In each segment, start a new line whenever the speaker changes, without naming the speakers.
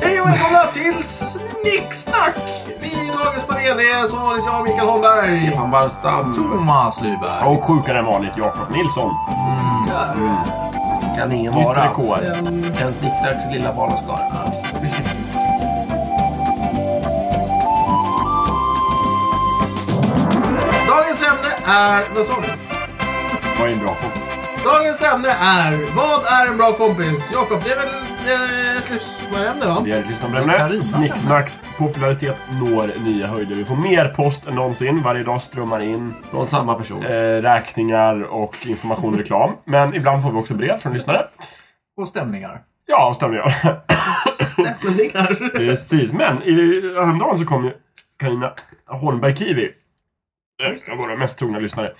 välkomna till Snicksnack! Vi i dagens panel är som vanligt jag, Mikael Holmberg.
Stefan Wallstam.
Thomas Lyberg.
Och sjukare än vanligt Jakob Nilsson.
Kan ingen
Nytt
vara.
rekord.
En snickare till lilla barnaskara.
Dagens ämne är... Vad sa du?
Var en bra kompis.
Dagens ämne är... Vad är en bra kompis? Jakob, det är väl eh, ett lyssnarämne va?
Det är Christian
Det
Bremne.
är
Snicksnacks popularitet når nya höjder. Vi får mer post än någonsin. Varje dag strömmar in
Från samma person.
eh, räkningar och information och reklam. Men ibland får vi också brev från lyssnare.
Och stämningar.
Ja, stämningar.
Stämningar.
Precis. Men i, häromdagen så kom ju Carina Holmberg Kiwi. Eh, En av våra mest trogna lyssnare.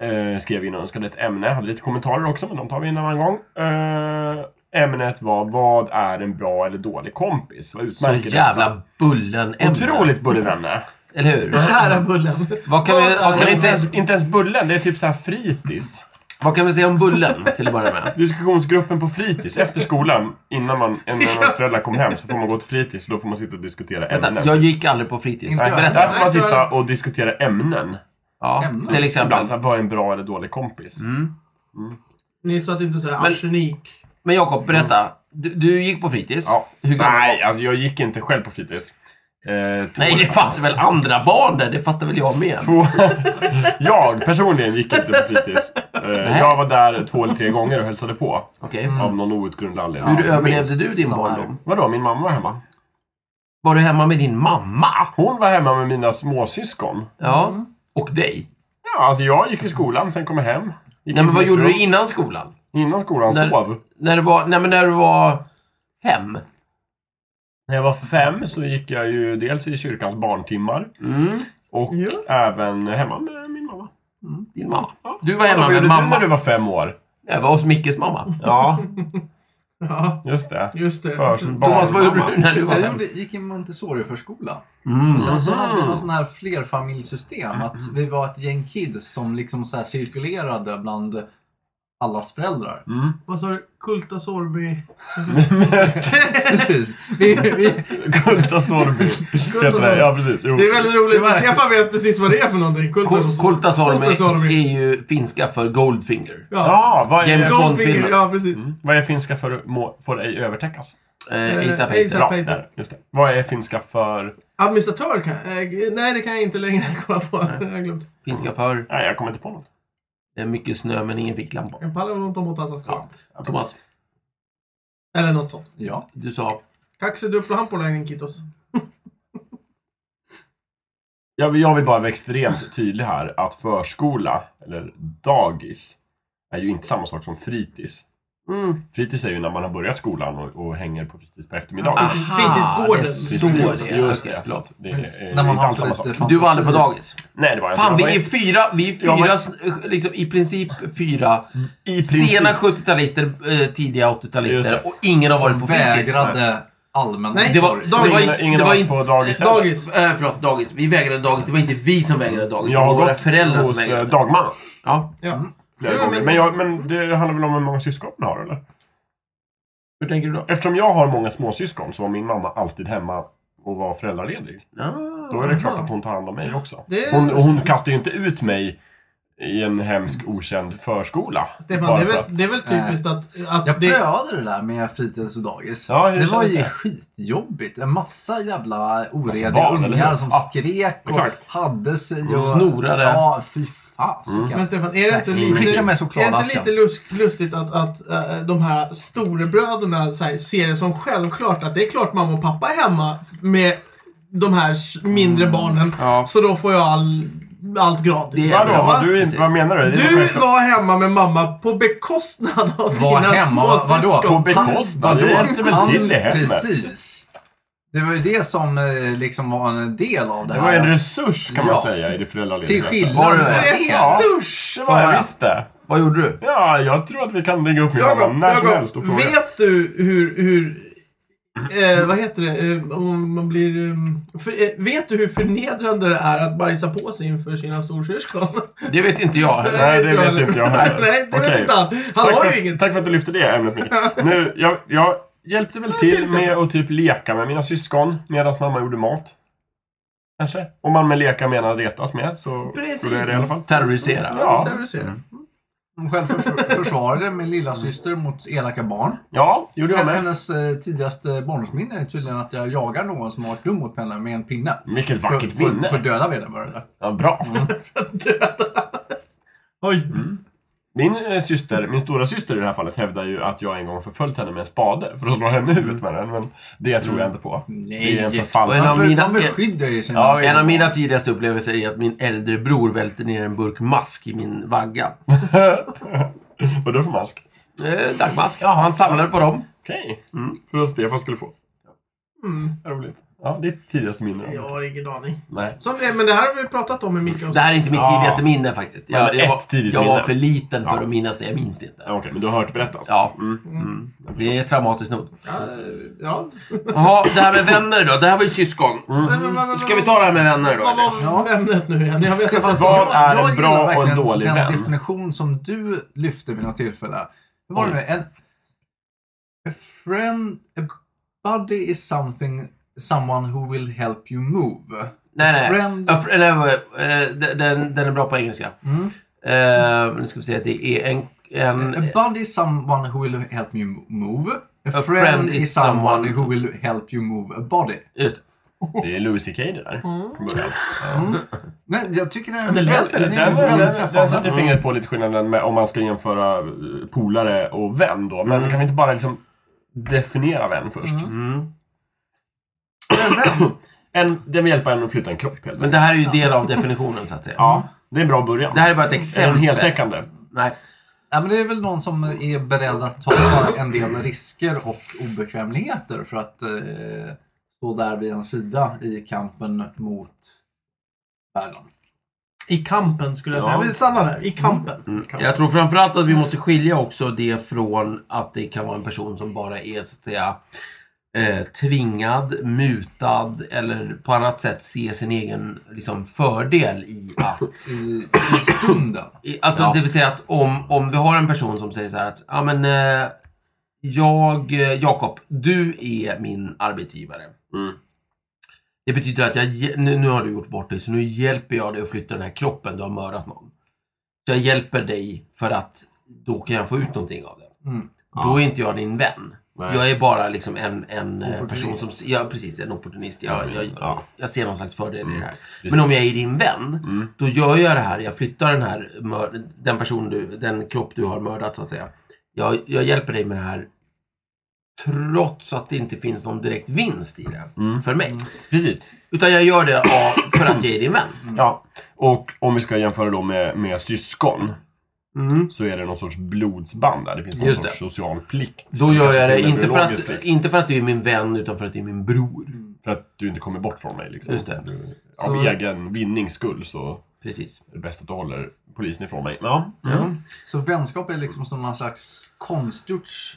Eh, skrev in och önskade ett ämne. Hade lite kommentarer också, men de tar vi en annan gång. Eh, ämnet var Vad är en bra eller dålig kompis? Vad
Så
utmärker
jävla bullen ämne.
Otroligt bullervänner.
Eller hur?
Kära Bullen.
Vad kan, vi, vad, kan
Men
vi
inte
säga,
ens, inte ens bullen, det är typ så här fritids.
vad kan vi säga om bullen till att börja med?
Diskussionsgruppen på fritids, efter skolan, innan man, innan ens föräldrar kommer hem, så får man gå till fritids och då får man sitta och diskutera
Vänta,
ämnen.
jag gick aldrig på fritids.
Inte
Nej,
jag.
Berätta.
där får man sitta och diskutera ämnen.
Ja,
Ämnen.
till exempel.
Ibland, så här, vad är Alltså, en bra eller dålig kompis?
Mm.
Ni sa att du inte säger
Men-
arsenik.
Men Jakob, berätta. Du, du gick på fritids.
Ja.
Hur gammal
Nej, alltså jag gick inte själv på fritids. Eh,
Nej, det fanns väl andra barn där? Det fattar väl jag med.
Två... jag personligen gick inte på fritids. Eh, jag var där två eller tre gånger och hälsade på.
Okej.
Av någon outgrundlig anledning.
Hur överlevde du din
Samma här.
barndom?
Vadå, min mamma var hemma.
Var du hemma med din mamma?
Hon var hemma med mina småsyskon.
Ja.
Mm.
Och dig?
Ja, alltså jag gick i skolan, sen kom jag hem. Gick
Nej,
in
men
på
vad
mitt
gjorde
rum.
du innan skolan?
Innan skolan
När-
sov.
När du var, nej, men när du var fem?
När jag var fem så gick jag ju dels i kyrkans barntimmar
Mm.
och
Ja.
även hemma med min mamma.
Din mamma.
Ja.
Du var
Vad
hemma
gjorde
med
du när du
mamma.
var fem år?
Jag var hos Mickes mamma.
Ja,
Ja,
just det.
just det.
Förs-
Thomas, vad gjorde
barnmamma.
du när du var
Jag
fem?
gjorde, gick i Montessori-förskola.
Mm.
Och sen så
Mhm.
hade vi någon sån här flerfamiljssystem. Att vi var ett gäng kids som liksom så här cirkulerade bland allas föräldrar.
Mm.
Vad sa du? Kulta Sorby?
Precis. Vi, vi,
Kulta Sorby. Heter det. Ja, precis. Jo.
Det är väldigt roligt för
Det var-
Stefan vet precis vad det är för någonting.
Ko- Koltasormi
Koltasormi.
är ju finska för Goldfinger.
Ja.
Ja, vad är,
James-
Goldfinger,
Bond-filmen.
ja precis.
vad är finska för må, får ej övertäckas?
Eh,
Eh,
ASAP heter
ASAP.
Bra,
Peter.
där. Just det. Vad är finska för...
Administratör kan jag... eh, Nej, det kan jag inte längre komma på. Jag har glömt.
Finska för
Nej, jag kommer inte på något.
det är mycket snö men ingen ficklampa.
En pallonotom mot Ataskan.
Thomas,
Eller något sånt.
ja.
du sa...
Kaxiduppla hampolängden kittos.
Jag, vill- jag vill bara vara extremt tydlig här att förskola, eller dagis, är ju inte samma sak som fritids.
Mm.
Fritids är ju när man har börjat skolan och, och hänger på fritids på eftermiddagen.
Ah, Fritidsgården.
det är så det är.
just
Okej,
det.
förlåt.
Det är
När man
inte
har
alls samma
haft
sak.
lite
Du var aldrig på
fantasi.
dagis?
Nej, det var jag
Fan,
inte.
vi är fyra, vi är
Jag
fyra, liksom, i princip fyra
i
sena 70-talister, eh, tidiga
Just
80-talister
det.
och ingen har varit på
Som
fritids.
vägrade allmän
Nej,
Det var,
omsorg.
det var,
Ingen, Äh, ingen
det
har
var
varit
inte...
på dagis heller.
Dagis.
Äh, förlåt, dagis. Vi vägrade dagis. Det var inte vi som vägrade dagis.
Jag
det
har
var våra
gått
föräldrar som
hos eh,
vägrade.
dagmamma
Ja.
Ja.
flera
Ja, men-
gånger. Men, jag, men det handlar väl om hur många syskon man har eller?
Hur tänker du då?
Eftersom jag har många småsyskon så var min mamma alltid hemma och var föräldraledig. Då är det klart att hon tar hand om mig också.
Det är-
Hon, och hon kastar ju inte ut mig i en hemsk okänd förskola.
Stefan,
Bara
det är
för
väl, det är väl typiskt att... att
Jag
det,
prövade det där med fritids och dagis.
Ja, hur
det var
kändes
ju
det?
skitjobbigt. En massa jävla orediga
barn, eller
ungar
hur?
som
Ja,
skrek och
exakt.
hade sig
Och
och...
snorade. Mm.
Ja, fy fasiken.
men Stefan, är det inte
Nej,
lite...
skicka med
Är det inte
chokladaskan.
lite lus- lustigt att, att eh, de här storebröderna så här, ser det som självklart att det är klart mamma och pappa är hemma med de här s- mindre barnen.
Ja.
Så då får jag all, allt gratis.
Det är
Vadå?
bra.
Vad Du, inte- vad menar du? Det är
Du
självklart.
var hemma med mamma på bekostnad av
Var
dina
hemma? Vadå?
På
småsyskon.
bekostnad?
Vadå?
Det hjälpte väl
Han-
till i hemmet?
Precis. Det var ju det som eh, liksom var en del av det
Det var en
här.
resurs kan man
Ja.
säga i det föräldraledigheten.
Till skillnad
Var
från
det
er.
det?
Ja,
Resurs!
det var
Får
jag
jag?
visst det.
Vad gjorde du?
Ja, jag tror att vi kan ringa upp min mamma
Jakob,
när som helst och
Jakob,
fråga.
vet du hur... hur eh, vad heter det? Eh, om man blir... eh, för, eh, vet du hur förnedrande det är att bajsa på sig inför sina storsyskon?
Det vet inte jag.
Nej, det
inte jag
vet inte jag
Nej,
heller.
nej, det
Okej.
vet inte han. Han
tack,
har
för,
ju inget.
tack för att du lyfte det ämnet Micke. Nu, jag, jag, hjälpte väl
Ja, till
till
exempel.
med att typ leka med mina syskon medan mamma gjorde mat. Kanske. Om man med leka menar retas med så
Precis.
gjorde jag det i alla fall.
Terroristera.
Ja, Mm.
Där du ser.
Hon själv förs- försvarade min lilla syster mot elaka barn.
ja gjorde jag med.
Hennes eh, tidigaste barndomsminne är tydligen att jag jagar någon som har varit dum mot henne med en pinne.
Vilket
För,
vackert minne.
för, för döda vederbörande.
Ja, bra. Mm.
Oj.
Min eh, syster, min stora syster i det här fallet hävdar ju att jag en gång förföljt henne med en spade för att slå
Mm.
henne i huvudet med den. Men det tror jag inte på. Det är en
Och en
förfalskning.
av
Varför,
mina-
de beskyddar ju sina...
Ja,
En av mina tidigaste upplevelser är att min äldre bror välte ner en burk mask i min vagga.
Vadå för mask?
Eh, dagmask. Han samlade på dem.
Okej. Mm. För att Stefan skulle få.
Mm.
Vad Roligt. Ja, det är tidigaste minne.
Jag har ingen aning.
Nej.
Som, eh, men det här har vi pratat om i mitt
Det här är inte mitt
Ja.
tidigaste minne faktiskt.
Men
Jag, jag,
ett
var,
tidigt
jag var
minne.
för liten för
Ja.
att minnas det. Jag minns det
Ja,
inte.
Okej, men du har hört berättas?
Ja.
Mm.
Mm. Det är traumatiskt nog.
Ja, eh, ja.
Jaha, det här med vänner då. Det här var ju syskon.
Mm.
Nej, men vad- vad-
Ska vi ta det här med vänner då?
Vad
eller?
var ämnet nu igen? Jag vet inte.
Stefan,
ens-
vad är en
gillar
bra och en
verkligen
dålig
den
vän?
definition som du lyfte vid något tillfälle. Hur var det nu? En... A friend... A buddy is something... Someone who will help you move.
Nej, nej.
Friend-
Ja, fr- nej, vad- eh, den- den, den är bra på engelska.
Mm.
Eh, nu ska vi se. Det är en...
A
Mm.
en
buddy is someone who will help you move. A,
friend
friend, is,
is
someone,
someone-
who will help you move a body.
just
Det är Louis CK det där. från början.
Mm. Men jag tycker den är
Den,
väldigt
den, den, den, den, den sätter fingret på lite skillnaden med om man ska jämföra eh, polare och vän då. Men kan vi inte bara liksom definiera vän först?
mm.
En, den vill hjälpa en att flytta en kropp helt
Men
enkelt.
det här är ju del av definitionen så att säga.
Ja, det är en bra början.
Det här är bara ett
är den
exempel.
heltäckande?
Nej.
Ja, men det är väl någon som är beredd att ta en del risker och obekvämligheter för att eh, stå där vid en sida i kampen mot världen.
I kampen skulle jag säga.
Ja.
Vi stannar där.
Mm.
I kampen.
Kan-
Jag tror framförallt att vi måste skilja också det från att det kan vara en person som bara är så att säga eh, tvingad, mutad eller på annat sätt se sin egen liksom, fördel i att
I, i stunden.
i- Alltså
Ja.
det vill säga att om, om vi har en person som säger så här att ja men eh, jag, eh, Jakob, du är min arbetsgivare.
Mm.
Det betyder att jag, hj- nu, nu har du gjort bort dig så nu hjälper jag dig att flytta den här kroppen, du har mördat någon. Så jag hjälper dig för att då kan jag få ut någonting av det.
Mm.
Då är inte jag din vän.
Nej.
Jag är bara liksom en, en eh, person som,
Opportunist.
ja precis, en opportunist. Jag, jag,
Ja.
jag ser någon slags fördel i det här.
Mm. precis. Mm.
Men om jag är din vän, då gör jag det här. Jag flyttar den här, mör- den person du, den kropp du har mördat så att säga. Jag, jag hjälper dig med det här trots att det inte finns någon direkt vinst i det
Mm.
för mig.
Precis.
Utan jag gör det av, för att jag är din vän.
Ja. Och om vi ska jämföra då med, med syskon
Mm.
så är det någon sorts blodsband där. Det finns någon
Just
sorts
det.
social plikt.
Då gör
Kanske
jag det
till och med
inte för,
biologisk
att,
plikt.
inte för att du är min vän utan för att du är min bror.
För att du inte kommer bort från mig. Liksom.
Just det.
Du, av
Så-
egen vinnings skull så
Precis.
är det bäst att du håller polisen ifrån mig. Ja.
Ja.
Så vänskap är liksom som någon slags konstgjorts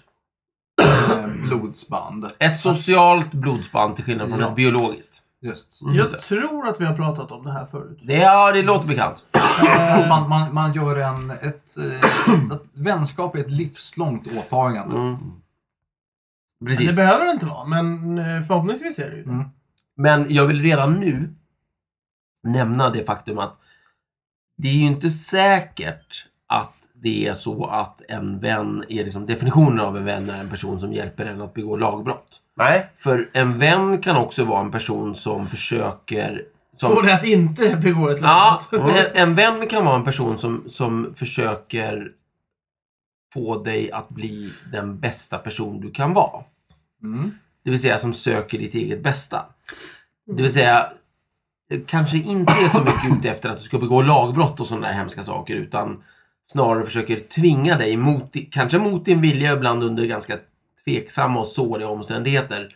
eh, blodsband.
Ett socialt blodsband till skillnad från
Ja.
ett biologiskt.
Just.
Just
Jag tror att vi har pratat om det här förut. Eh,
Det, ja, det låter bekant.
Och
Mm.
Man, man, man gör en... Ett, eh, att vänskap är ett livslångt åtagande.
Mm.
Men det
Precis.
behöver det inte vara, men eh, förhoppningsvis är det ju det.
Mm.
Men jag vill redan nu nämna det faktum att det är ju inte säkert att det är så att en vän är liksom definitionen av en vän är en person som hjälper en att begå lagbrott.
Nej.
För en vän kan också vara en person som försöker... Som,
Får det att inte begå ett
Ja,
lagbrott.
en- en vän kan vara en person som, som försöker få dig att bli den bästa person du kan vara.
Mm.
Det vill säga som söker ditt eget bästa. Det vill säga eh, kanske inte är så mycket ute efter att du ska begå lagbrott och sådana där hemska saker utan snarare försöker tvinga dig, mot, di- kanske mot din vilja ibland under ganska tveksamma och såriga omständigheter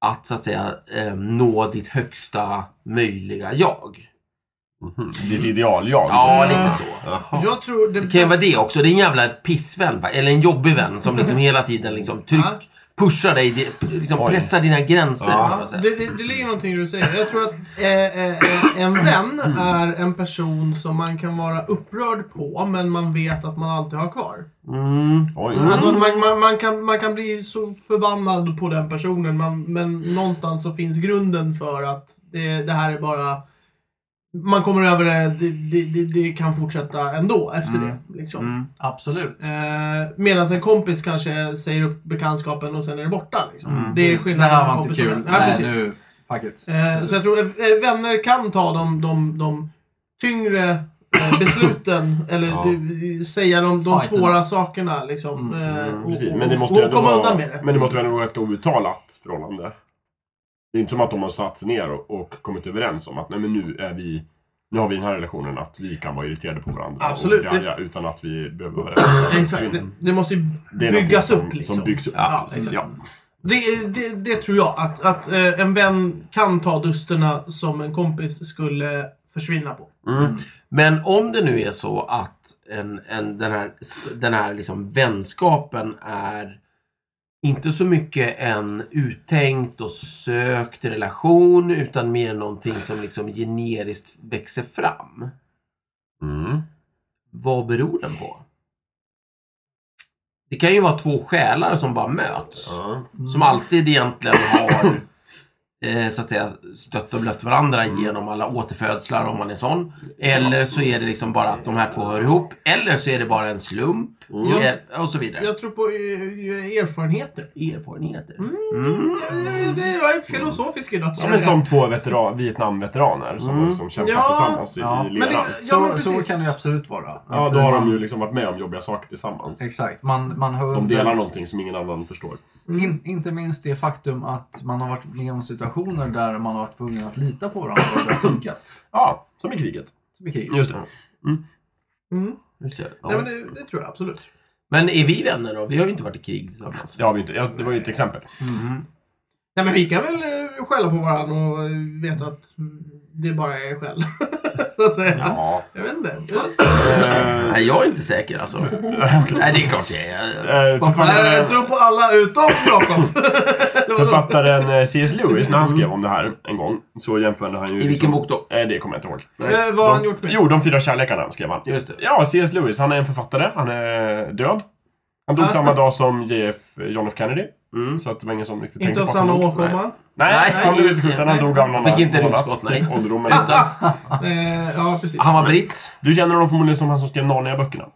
att så att säga eh, nå ditt högsta möjliga jag.
Mhm. Ditt ideal-jag.
Ja, lite så.
Jaha.
Jag tror det
Det kan ju vara det också. Det är en jävla pissvän, va? eller en jobbig vän som liksom hela tiden liksom tryck, pushar dig, di- liksom
Oj.
pressar dina gränser på
Ja,
något
det,
sätt.
det, det ligger någonting i det du säger. Jag tror att eh, eh, eh, en vän
Mm.
är en person som man kan vara upprörd på, men man vet att man alltid har kvar.
Mm.
Oj.
Alltså, man, man, man, kan, man kan bli så förbannad på den personen, man, men någonstans så finns grunden för att det, det här är bara... Man kommer över det, det, det, det, det kan fortsätta ändå efter
Mm.
det. Liksom.
Mm.
Absolut.
Eh, Medan en kompis kanske säger upp bekantskapen och sen är det borta. Liksom.
Mm.
Det är
Det
skillnaden
här
mellan
var inte
kompis och
kul.
vän. Ja,
Nej,
precis.
nu. Fuck it.
Eh,
Precis.
så jag tror eh, eh, vänner kan ta de, de, de tyngre eh, besluten eller
Ja.
du- säga de, de
Fighten.
svåra sakerna. Liksom,
Mm,
eh, och,
Precis,
och,
men det måste ju
och, och
ändå
komma
vara,
undan med det.
Men det måste väl ändå vara ett ganska outtalat förhållande? Det är inte som att de har satt sig ner och, och kommit överens om att nej, men nu är vi nu har vi den här relationen att vi kan vara irriterade på varandra.
Absolut,
Och greja, utan att vi behöver vara det.
Exakt. Det, det måste ju
Det är
byggas
någonting
upp.
som,
Liksom.
Som byggs upp.
Ja,
precis, ja.
det, det, det tror jag. Att, att eh, en vän kan ta dusterna som en kompis skulle försvinna på.
Mm.
Men om det nu är så att en, en, den här, den här liksom vänskapen är inte så mycket en uttänkt och sökt relation utan mer någonting som liksom generiskt växer fram.
Mm.
Vad beror den på? Det kan ju vara två själar som bara möts.
Ja.
Mm.
Som alltid egentligen har eh, så att säga, stött och blött varandra
Mm.
genom alla återfödslar om man är sån. Eller så är det liksom bara att de här två hör ihop. Eller så är det bara en slump.
Mm.
eh, Och så vidare.
Jag tror på eh, erfarenheter.
Erfarenheter.
Mm.
Mm.
Eh, Det var ju filosofiskt idag.
Ja, men som två veteran, Vietnamveteraner som
Mm.
har liksom kämpat
Ja.
tillsammans i,
Ja.
i
Men
Men det,
leran.
ja, men
Så, så
precis.
kan det ju absolut vara.
Ja,
Att
då har
man,
de ju liksom varit med om jobbiga saker tillsammans.
Exakt. Man, man har
De
under-
delar någonting som ingen annan förstår.
In, inte minst det faktum att man har varit med om situationer där man har varit tvungen att lita på varandra och det har funkat.
Ja, som i kriget.
Som i kriget.
Just det.
Mm.
Just det,
Nej,
Ja.
men det, det tror jag absolut.
Men är vi vänner då? Vi har ju inte varit i krig tillsammans.
Det har vi inte. Ja, Det var ju ett exempel.
Nej, men vi kan väl eh, skälla på varandra och eh, veta att mm, det bara är skäll. Så att säga.
Ja.
Jag vet inte. Jag,
Eh,
Nej, jag är inte säker alltså. Nej, det är klart jag är.
eh,
jag, jag
författaren,
tror på alla utom Jakob. Eller vadå?
författaren eh, C.S. Lewis, när han skrev om det här en gång, så jämförde han ju...
I vilken bok då?
Eh, det kommer jag inte ihåg.
Eh, Vad har han gjort med?
Jo, De fyra kärlekarna skrev han.
Just det.
Ja, C.S. Lewis, han är en författare. Han är död. Han
Ah.
dog samma dag som JF, John F Kennedy.
Mm.
Så att det var ingen som riktigt
Inte
tänkte
av
på att han
samma
dog.
åkomma.
Nej,
Nej,
han blev
nej,
inte skjuten.
nej.
Han dog av någon
Fick inte
något
hotskott, nej.
typ Ålderdomen.
Utan,
Eh, Ja, precis.
han var britt.
Du känner honom förmodligen som han som skrev Narnia-böckerna.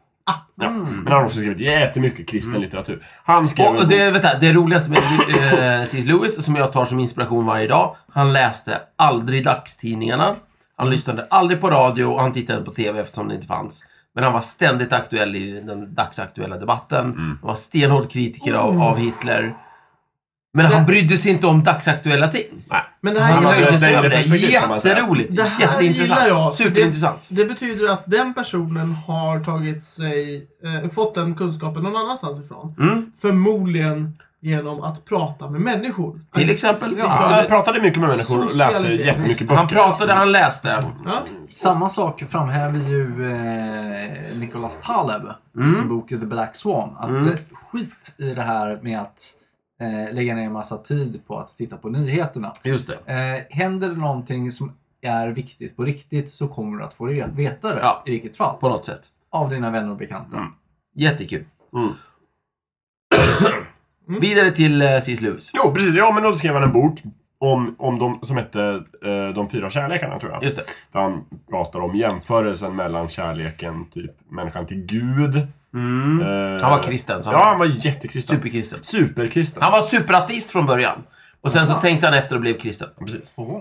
Ja.
Mm.
Men han har också skrivit jättemycket kristen litteratur. Han skrev...
Och det, vänta, det roligaste med eh, C.S. Lewis, som jag tar som inspiration varje dag, han läste aldrig dagstidningarna. Han lyssnade aldrig på radio och han tittade på TV eftersom det inte fanns. Men han var ständigt aktuell i den dagsaktuella debatten. Han var stenhård kritiker
Mm.
av, av Hitler. Men han brydde sig inte om dagsaktuella ting.
Nej.
Men det
Han
här
var
gillar jag.
var
väldigt-
sig över det.
perspektiv, kan man säga.
Jätteroligt!
Det här gillar jag,
Jätteintressant.
för det-
Superintressant.
Det betyder att den personen har tagit sig, eh, fått den kunskapen någon annanstans ifrån.
Mm.
Förmodligen genom att prata med människor.
Till exempel.
Ja,
Så han
Absolut.
pratade mycket med människor och läste
Socialisering.
jättemycket böcker.
Han pratade, han läste.
Ja.
Samma sak framhäver ju eh, Nicholas Taleb
Mm.
i sin bok The Black Swan. Att
Mm.
eh, skit i det här med att eh, lägga ner en massa tid på att titta på nyheterna.
Just det.
Eh, händer det någonting som är viktigt på riktigt så kommer du att få re- veta det
Ja.
i vilket fall.
På något sätt.
Av dina vänner och bekanta.
Jättekul.
Mm.
Vidare till eh, C.S. Lewis.
Jo, precis. Ja, men då skrev han en bok om, om de som hette eh, De fyra kärlekarna, tror jag.
Just det.
Där han pratar om jämförelsen mellan kärleken, typ människan till Gud.
Mm.
eh,
Han var kristen. Så han
Ja,
var
han var jättekristen.
superkristen.
Superkristen.
Han var superateist från början. Och sen så tänkte han efter och blev kristen.
Precis. Mm.
Åh.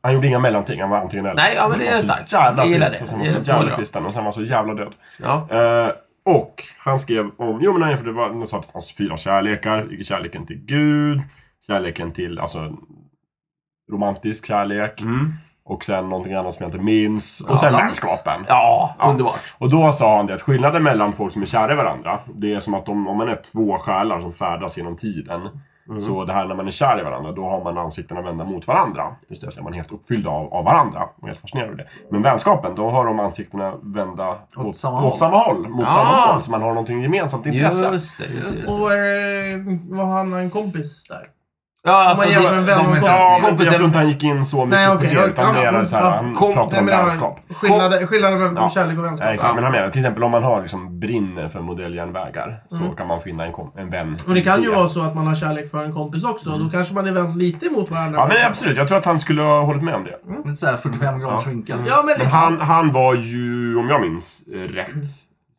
Han gjorde inga mellanting. Han var antingen eller.
Nej, ja, men det är
Han var så
starkt.
Jävla
Jag gillar
kristen,
det.
Och sen var
Jag
han så
gillar det.
jävla kristen och sen var han så jävla död.
Ja.
Eh, och han skrev om, jo men nej, för det var, han sa att det fanns fyra kärlekar. Kärleken till Gud, kärleken till, alltså romantisk kärlek.
Mm.
Och sen någonting annat som jag inte minns. Och
Ja,
sen
bland-
vänskapen.
Ja,
Ja.
underbart.
Och då sa han det att skillnaden mellan folk som är kära i varandra, det är som att de, om man är två själar som färdas genom tiden.
Mm.
Så det här när man är kär i varandra, då har man ansiktena vända mot varandra.
Just
Där är man helt uppfylld av, av varandra och helt fascinerad av det. Men vänskapen, då har de ansiktena vända
Åt samma håll.
Åt samma håll, mot
Ah.
samma håll. Så man har någonting gemensamt intresse.
Just det, just det.
Och eh, vad han en kompis där?
Ja, alltså,
Om man jämför en
det,
vän
de
och
är
en
inte-
kompis.
Ja, men jag
Kompisen-
tror inte han gick in så mycket
Nej,
på
okej,
det.
okej.
Utan
Ja,
mer så här,
ja.
han
Kom-
pratade
Nej,
om
men det var
vänskap.
Skillnaden, skillnaden mellan
Ja.
kärlek och
Nej,
vänskap.
exakt. Men han menar till exempel om man har liksom brinner för modelljärnvägar så kan man finna en, kom- en vän.
Och det kan ju
i
vara så att man har kärlek för en kompis också. Då kanske man är vänt lite emot varandra.
Mm. Ja, men absolut. Jag tror att han skulle ha hållit med om det.
Lite såhär 45 graders vinkel.
Ja, men
Men
lite.
han, han var ju, om jag minns eh, rätt,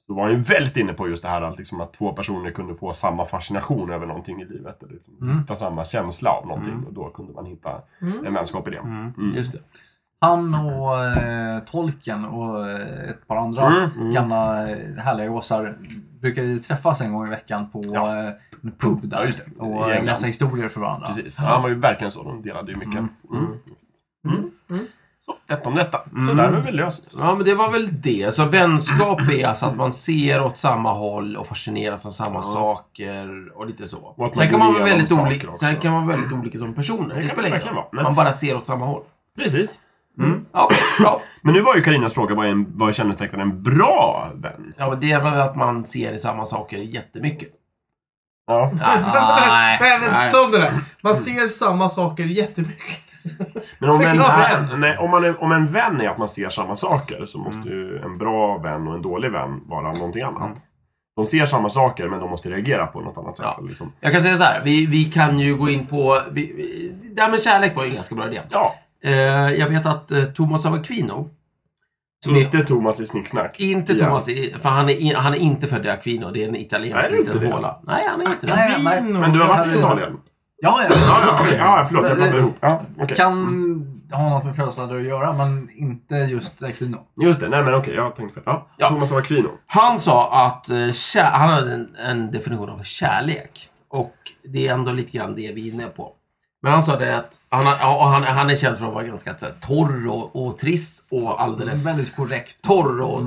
då var han ju väldigt inne på just det här att, liksom, att två personer kunde få samma fascination över någonting i livet. Eller liksom,
Mm.
hitta samma känsla av någonting. Och då kunde man hitta en vänskap i det. Mm.
just det.
Han och eh, Tolken och eh, ett par andra
Mm,
gamla eh, härliga gåsar brukar ju träffas en gång i veckan på
Ja.
eh, en pub där
Ja, just det. I
och eh,
England.
läsa historier för varandra.
Precis. Han var ju verkligen så. De delade ju mycket. Mm.
Mm.
Så, detta om detta. Så där var väl löst.
Ja, men det var väl det. Så vänskap är alltså att man ser åt samma håll och fascineras av samma saker och lite så.
Och att man
sen, kan
går
man vara
igenom
väldigt
saker
olika,
också.
sen kan man vara väldigt olika som personer.
kan
Det,
det
spelar ingen
verkligen
roll.
vara.
Man bara ser åt samma håll.
Precis.
Mm. Ja, bra.
Men nu var ju Karinas fråga vad, är en, vad kännetecknar en bra vän?
Ja, men det är väl att man ser i samma saker jättemycket.
Ja.
Nej,
Nej, men
nej.
ta om det där. Man
Mm.
ser samma saker jättemycket.
Men om en,
Förklara.
vän, nej, om, man är, om en vän är att man ser samma saker så måste ju en bra vän och en dålig vän vara någonting annat. De ser samma saker men de måste reagera på något annat sätt.
Ja.
Liksom.
Jag kan säga så här, vi, vi kan ju gå in på... Vi, vi, det här med kärlek var ju en ganska bra idé.
ja
Eh, jag vet att eh, Thomas av Aquino, som är
inte Thomas i Snicksnack.
Inte
Ja.
Thomas, i- för han är, han är inte född i Aquino. Det är en italiensk
Är det inte
liten
det?
håla. Nej, han är inte det.
Nej, nej.
Vino.
Men du har varit i Italien?
Ja, ja.
Ja, ja, okej. ja förlåt. Jag blandade ihop. Ja, okej. Mm.
Kan ha något med födelsedagar att göra, men inte just Aquino.
Just det. Nej, men okej. jag tänkte fel. Ja.
Ja.
Thomas av Aquino.
Han sa att eh, kär, han hade en, en definition av kärlek. Och det är ändå lite grann det vi är inne på. Men han sa det att han, har- ja, och han, han är känd för att vara ganska så här, torr och, och trist och alldeles
Väldigt korrekt.
torr och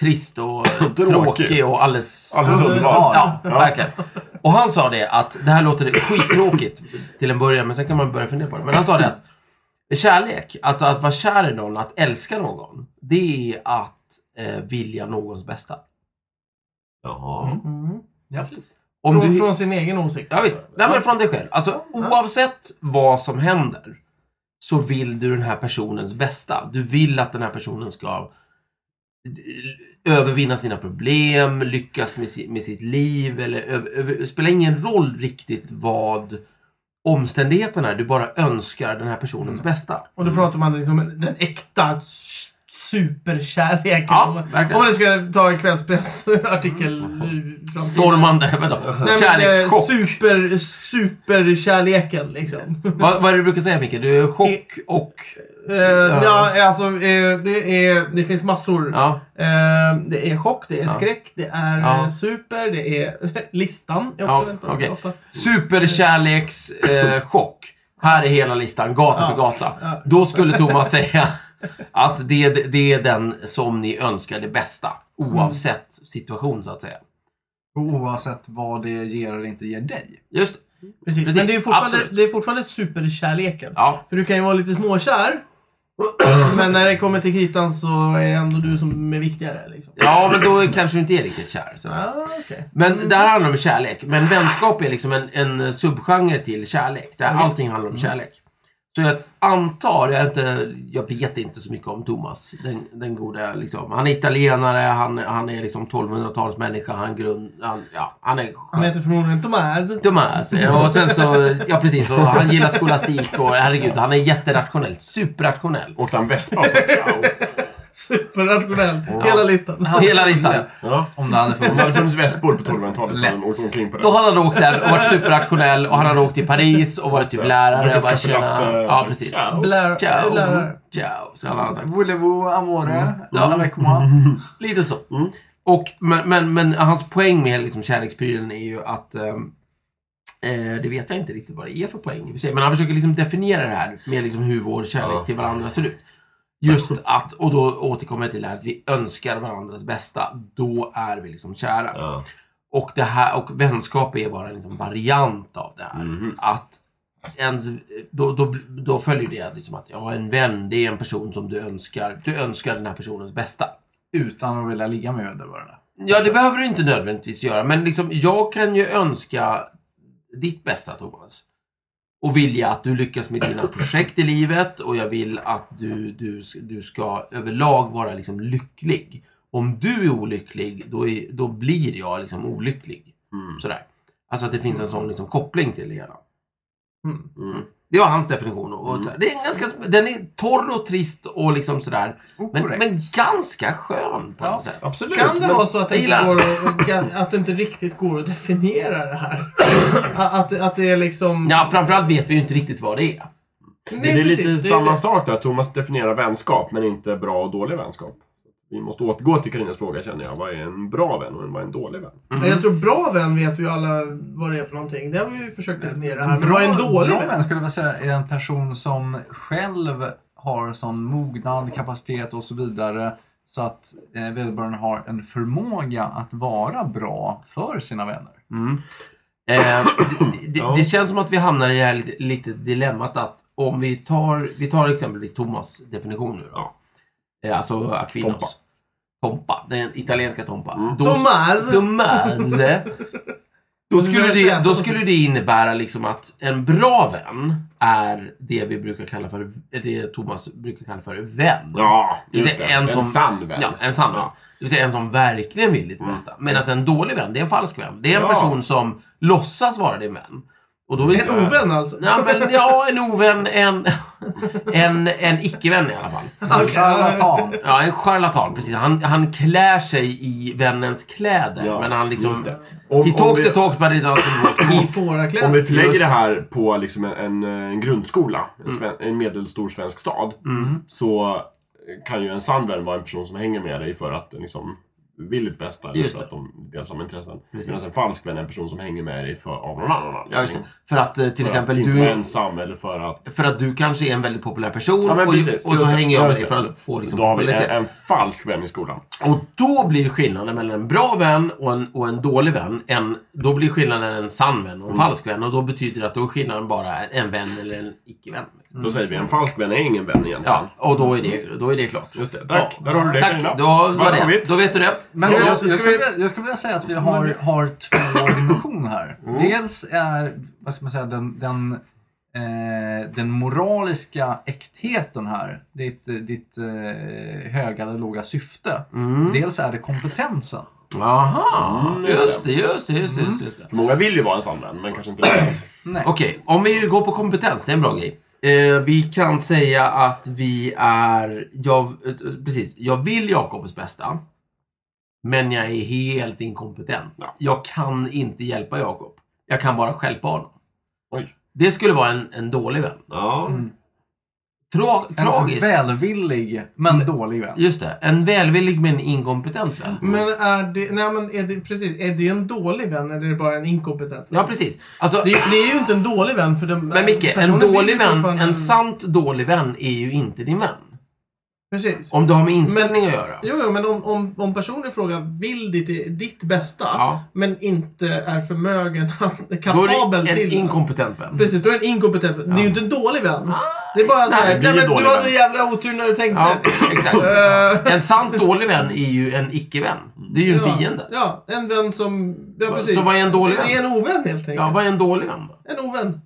trist och eh,
Tråkig.
tråkig och alldeles...
Alldeles
Ja, det är
underbart.
så.
Ja, verkligen. Och han sa det att, det här låter skittråkigt till en början, men sen kan man börja fundera på det. Men han sa det att kärlek, alltså att vara kär i någon, att älska någon, det är att eh, vilja någons bästa.
Jaha.
Mm.
Ja, fint.
Om
Från,
du,
från sin egen åsikt.
ja, visst. Nej, men från dig själv. Alltså, oavsett vad som händer så vill du den här personens bästa. Du vill att den här personen ska eh, övervinna sina problem, lyckas med, si- med sitt liv eller över, över, det spelar ingen roll riktigt vad omständigheterna är. Du bara önskar den här personens bästa.
Och då pratar man liksom den äkta s- superkärleken.
Ja,
Om man-
verkligen.
Om man nu ska ta en kvällspressartikel. nu fram till-
Stormande, vänta,
Nej, men, eh,
kärlekschock.
Super, superkärleken liksom.
Vad, vad är det du brukar säga Micke? Du är chock och...
Eh, ja, alltså, eh, det, är, det finns massor.
Ja,
Eh, det är chock, det är skräck, det är
Ja.
eh, super, det är listan. Är också
Ja,
väldigt bra,
okej.
ofta.
Superkärlekschock. Eh, chock. här är hela listan, gata för gata. Då skulle Thomas säga att det, det är den som ni önskar det bästa. Oavsett situation så att säga.
Oavsett vad det ger eller inte ger dig.
Just
Precis.
Precis,
Men det är, ju fortfarande,
absolut.
det är fortfarande superkärleken.
Ja,
För du kan ju vara lite småkär. men när det kommer till kritan så är det ändå du som är viktigare. Liksom.
ja men då kanske du inte är riktigt kär. Så.
Ah, okej.
Men det här handlar om kärlek. Men vänskap är liksom en, en subgenre till kärlek. Där allting handlar om kärlek. Så jag antar, jag, är inte, jag vet inte så mycket om Thomas. Den, den goda liksom. Han är italienare, han, han är liksom 1200-talsmänniska, han grund... Han, ja, han är
Han heter förmodligen Tomaz.
Thomas. Och sen så, ja precis, och han gillar skolastik och herregud, han är jätterationell. Superrationell.
Åkte han vespa och sa ciao?
Superrationell. Hela listan.
Hela listan.
Ja.
Om det hade
Om det hade
funnits.
funnits vespor på 1200-talet så hade de
Lätt.
åkt omkring på det.
Då hade han åkt där och varit superrationell och han hade åkt till Paris och varit typ lärare.
Druckit
Och bara,
kaffe latte,
tjena. Ja, precis.
ciao.
Blär,
Ciao.
lärare.
Ciao. Så hade han sagt.
Voulez-vous amore?
Ja.
Mm. Avec moi?
Mm.
Lite så. Och, men, men, men hans poäng med liksom kärleksprylen är ju att ehm, eh, det vet jag inte riktigt vad det är för poäng i och för sig. Men han försöker liksom definiera det här med liksom hur vår kärlek
Ja.
till varandra ser ut. Just att, och då återkommer jag till det här att vi önskar varandras bästa. Då är vi liksom kära.
Ja.
Och, det här, och vänskap är bara en liksom variant av det här.
Mhm.
Att ens, då, då, då följer det liksom att ja, en vän det är en person som du önskar. Du önskar den här personens bästa.
Utan att vilja ligga med vederbörande.
Ja, det behöver du inte nödvändigtvis göra. Men liksom, jag kan ju önska ditt bästa, Thomas. Och vilja att du lyckas med dina projekt i livet och jag vill att du, du, du ska överlag vara liksom lycklig. Om du är olycklig, då, är, då blir jag liksom olycklig.
Mm.
Sådär. Alltså att det finns en sån liksom koppling till det hela.
Mm.
Mm.
Det var hans definition. Och, och sådär. Det är en ganska, sp- den är torr och trist och liksom sådär. Men,
Korrekt.
men ganska skön på
Ja,
något sätt.
Absolut.
Kan det
men-
vara så att det,
Jag
inte
gillar
går att, att det inte riktigt går att definiera det här? Att, att det är liksom...
Ja, framförallt vet vi ju inte riktigt vad det är.
Nej,
Men det är lite
precis, det är
samma
det.
sak där. Thomas definierar vänskap, men inte bra och dålig vänskap. Vi måste återgå till Karinas fråga känner jag. Vad är en bra vän och vad är en dålig vän?
Men jag tror bra vän vet vi ju alla vad det är för någonting. Det har vi ju försökt definiera här. Men
Bra-
vad är en dålig
bra
vän?
vän skulle jag vilja säga är en person som själv har sån mognad, kapacitet och så vidare så att eh, vederbörande har en förmåga att vara bra för sina vänner.
Mm. Eh, det, det,
Ja.
det känns som att vi hamnar i det här lite, lite dilemmat att om vi tar, vi tar exempelvis Thomas definition nu då. Eh, alltså Aquinos.
Tompa.
Tompa. Den italienska Tompa.
Mm.
Då-
Thomas!
Thomas. Då skulle, det, då skulle det innebära liksom att en bra vän är det vi brukar kalla för, det Thomas brukar kalla för vän.
Ja,
Det vill
just det.
säga
En,
en som-
sann vän.
Ja, en sann vän.
Ja.
Det vill säga en som verkligen vill ditt
Mm.
bästa. Medan en dålig vän, det är en falsk vän. Det är en
Ja.
person som låtsas vara din vän. Och då är
En ovän alltså?
Ja, men, ja, en ovän. En, en, en icke-vän i alla fall.
Okej.
Charlatan.
Ja, en charlatan. Precis. Han, han klär sig i vännens kläder.
Ja,
men han liksom...
just det. Om,
He
om,
talks the
vi,
talks but he doesn't walk the
I
walk.
fårakläder?
om vi förlägger
Just
det
det. Mm.
här på liksom en, en, en grundskola, en, sven, en medelstor svensk stad, så kan ju en sann vän vara en person som hänger med dig för att den liksom vill ditt bästa, eller
Just
för
det.
att de delar samma intressen.
Precis.
Medan en falsk vän är en person som hänger med dig för, av någon annan anledning.
Ja, just det. För att eh, till
För
exempel
att inte vara
du...
ensam eller för att...
För att du kanske är en väldigt populär person
Ja, men
och,
precis.
och så
Just det.
hänger jag
Ja,
med
just
dig
det.
för att få liksom
Då har vi en,
popularitet.
en falsk vän i skolan.
Och då blir skillnaden mellan en bra vän och en, och en dålig vän, en, då blir skillnaden en sann vän
Mm.
och en falsk vän. Och då betyder det att då är skillnaden bara en vän eller en icke-vän. liksom.
Då säger vi en falsk vän är ingen vän egentligen.
Ja, och då är det, då är det klart.
Just det. Tack.
Ja.
Där har du det,
Tack,
Carina.
då, var
Svart
det.
på vitt.
då vet du det.
Men
Så-
jag, jag,
så ska
skulle,
vi-
vilja- jag skulle vilja säga att vi har, har två dimensioner här. Dels är, vad ska man säga, den, den, eh, den moraliska äktheten här. Ditt, ditt eh, höga eller låga syfte. Dels är det kompetensen.
Jaha,
Mm,
just det, just det, just det. Just det, just det.
För många vill ju vara en sann vän, men kanske inte lyckas.
Nej.
Okej, om vi går på kompetens, det är en bra grej. Eh, vi kan säga att vi är... Jag, eh, precis, jag vill Jakobs bästa. Men jag är helt inkompetent. Jag kan inte hjälpa Jakob. Jag kan bara stjälpa honom.
Oj.
Det skulle vara en, en dålig vän.
Ja.
Mm. Tra,
En
tragiskt.
välvillig men
Mm.
dålig vän.
Just det. En välvillig men inkompetent vän.
Men är det... Nej men är det, precis. Är det en dålig vän eller är det bara en inkompetent vän?
Ja, precis. Alltså,
Det, det är ju inte en dålig vän för den
men Micke, en
personen vill ju
dålig vän,
fortfarande-
en sant dålig vän är ju inte din vän.
Precis.
Om du har med inställning att göra.
Jo, jo, men om, om, om personen i fråga vill ditt, ditt bästa,
Ja.
men inte är förmögen, att-
Då är
kapabel
det en
till det.
inkompetent vän.
Precis, du är en inkompetent vän. Det är ju inte en dålig vän. Det är bara så
nej,
här,
det blir
nej,
ju
men
dålig
du hade
vän."
jävla otur när du tänkte.
Ja, exakt.
Eh,
En sant dålig vän är ju en icke-vän. Det är ju en
ja,
fiende.
Ja, en vän som... Ja,
Så-
precis.
så vad är en dålig
Det är
vän?
en ovän helt enkelt.
Ja, vad är en dålig vän då?
En ovän.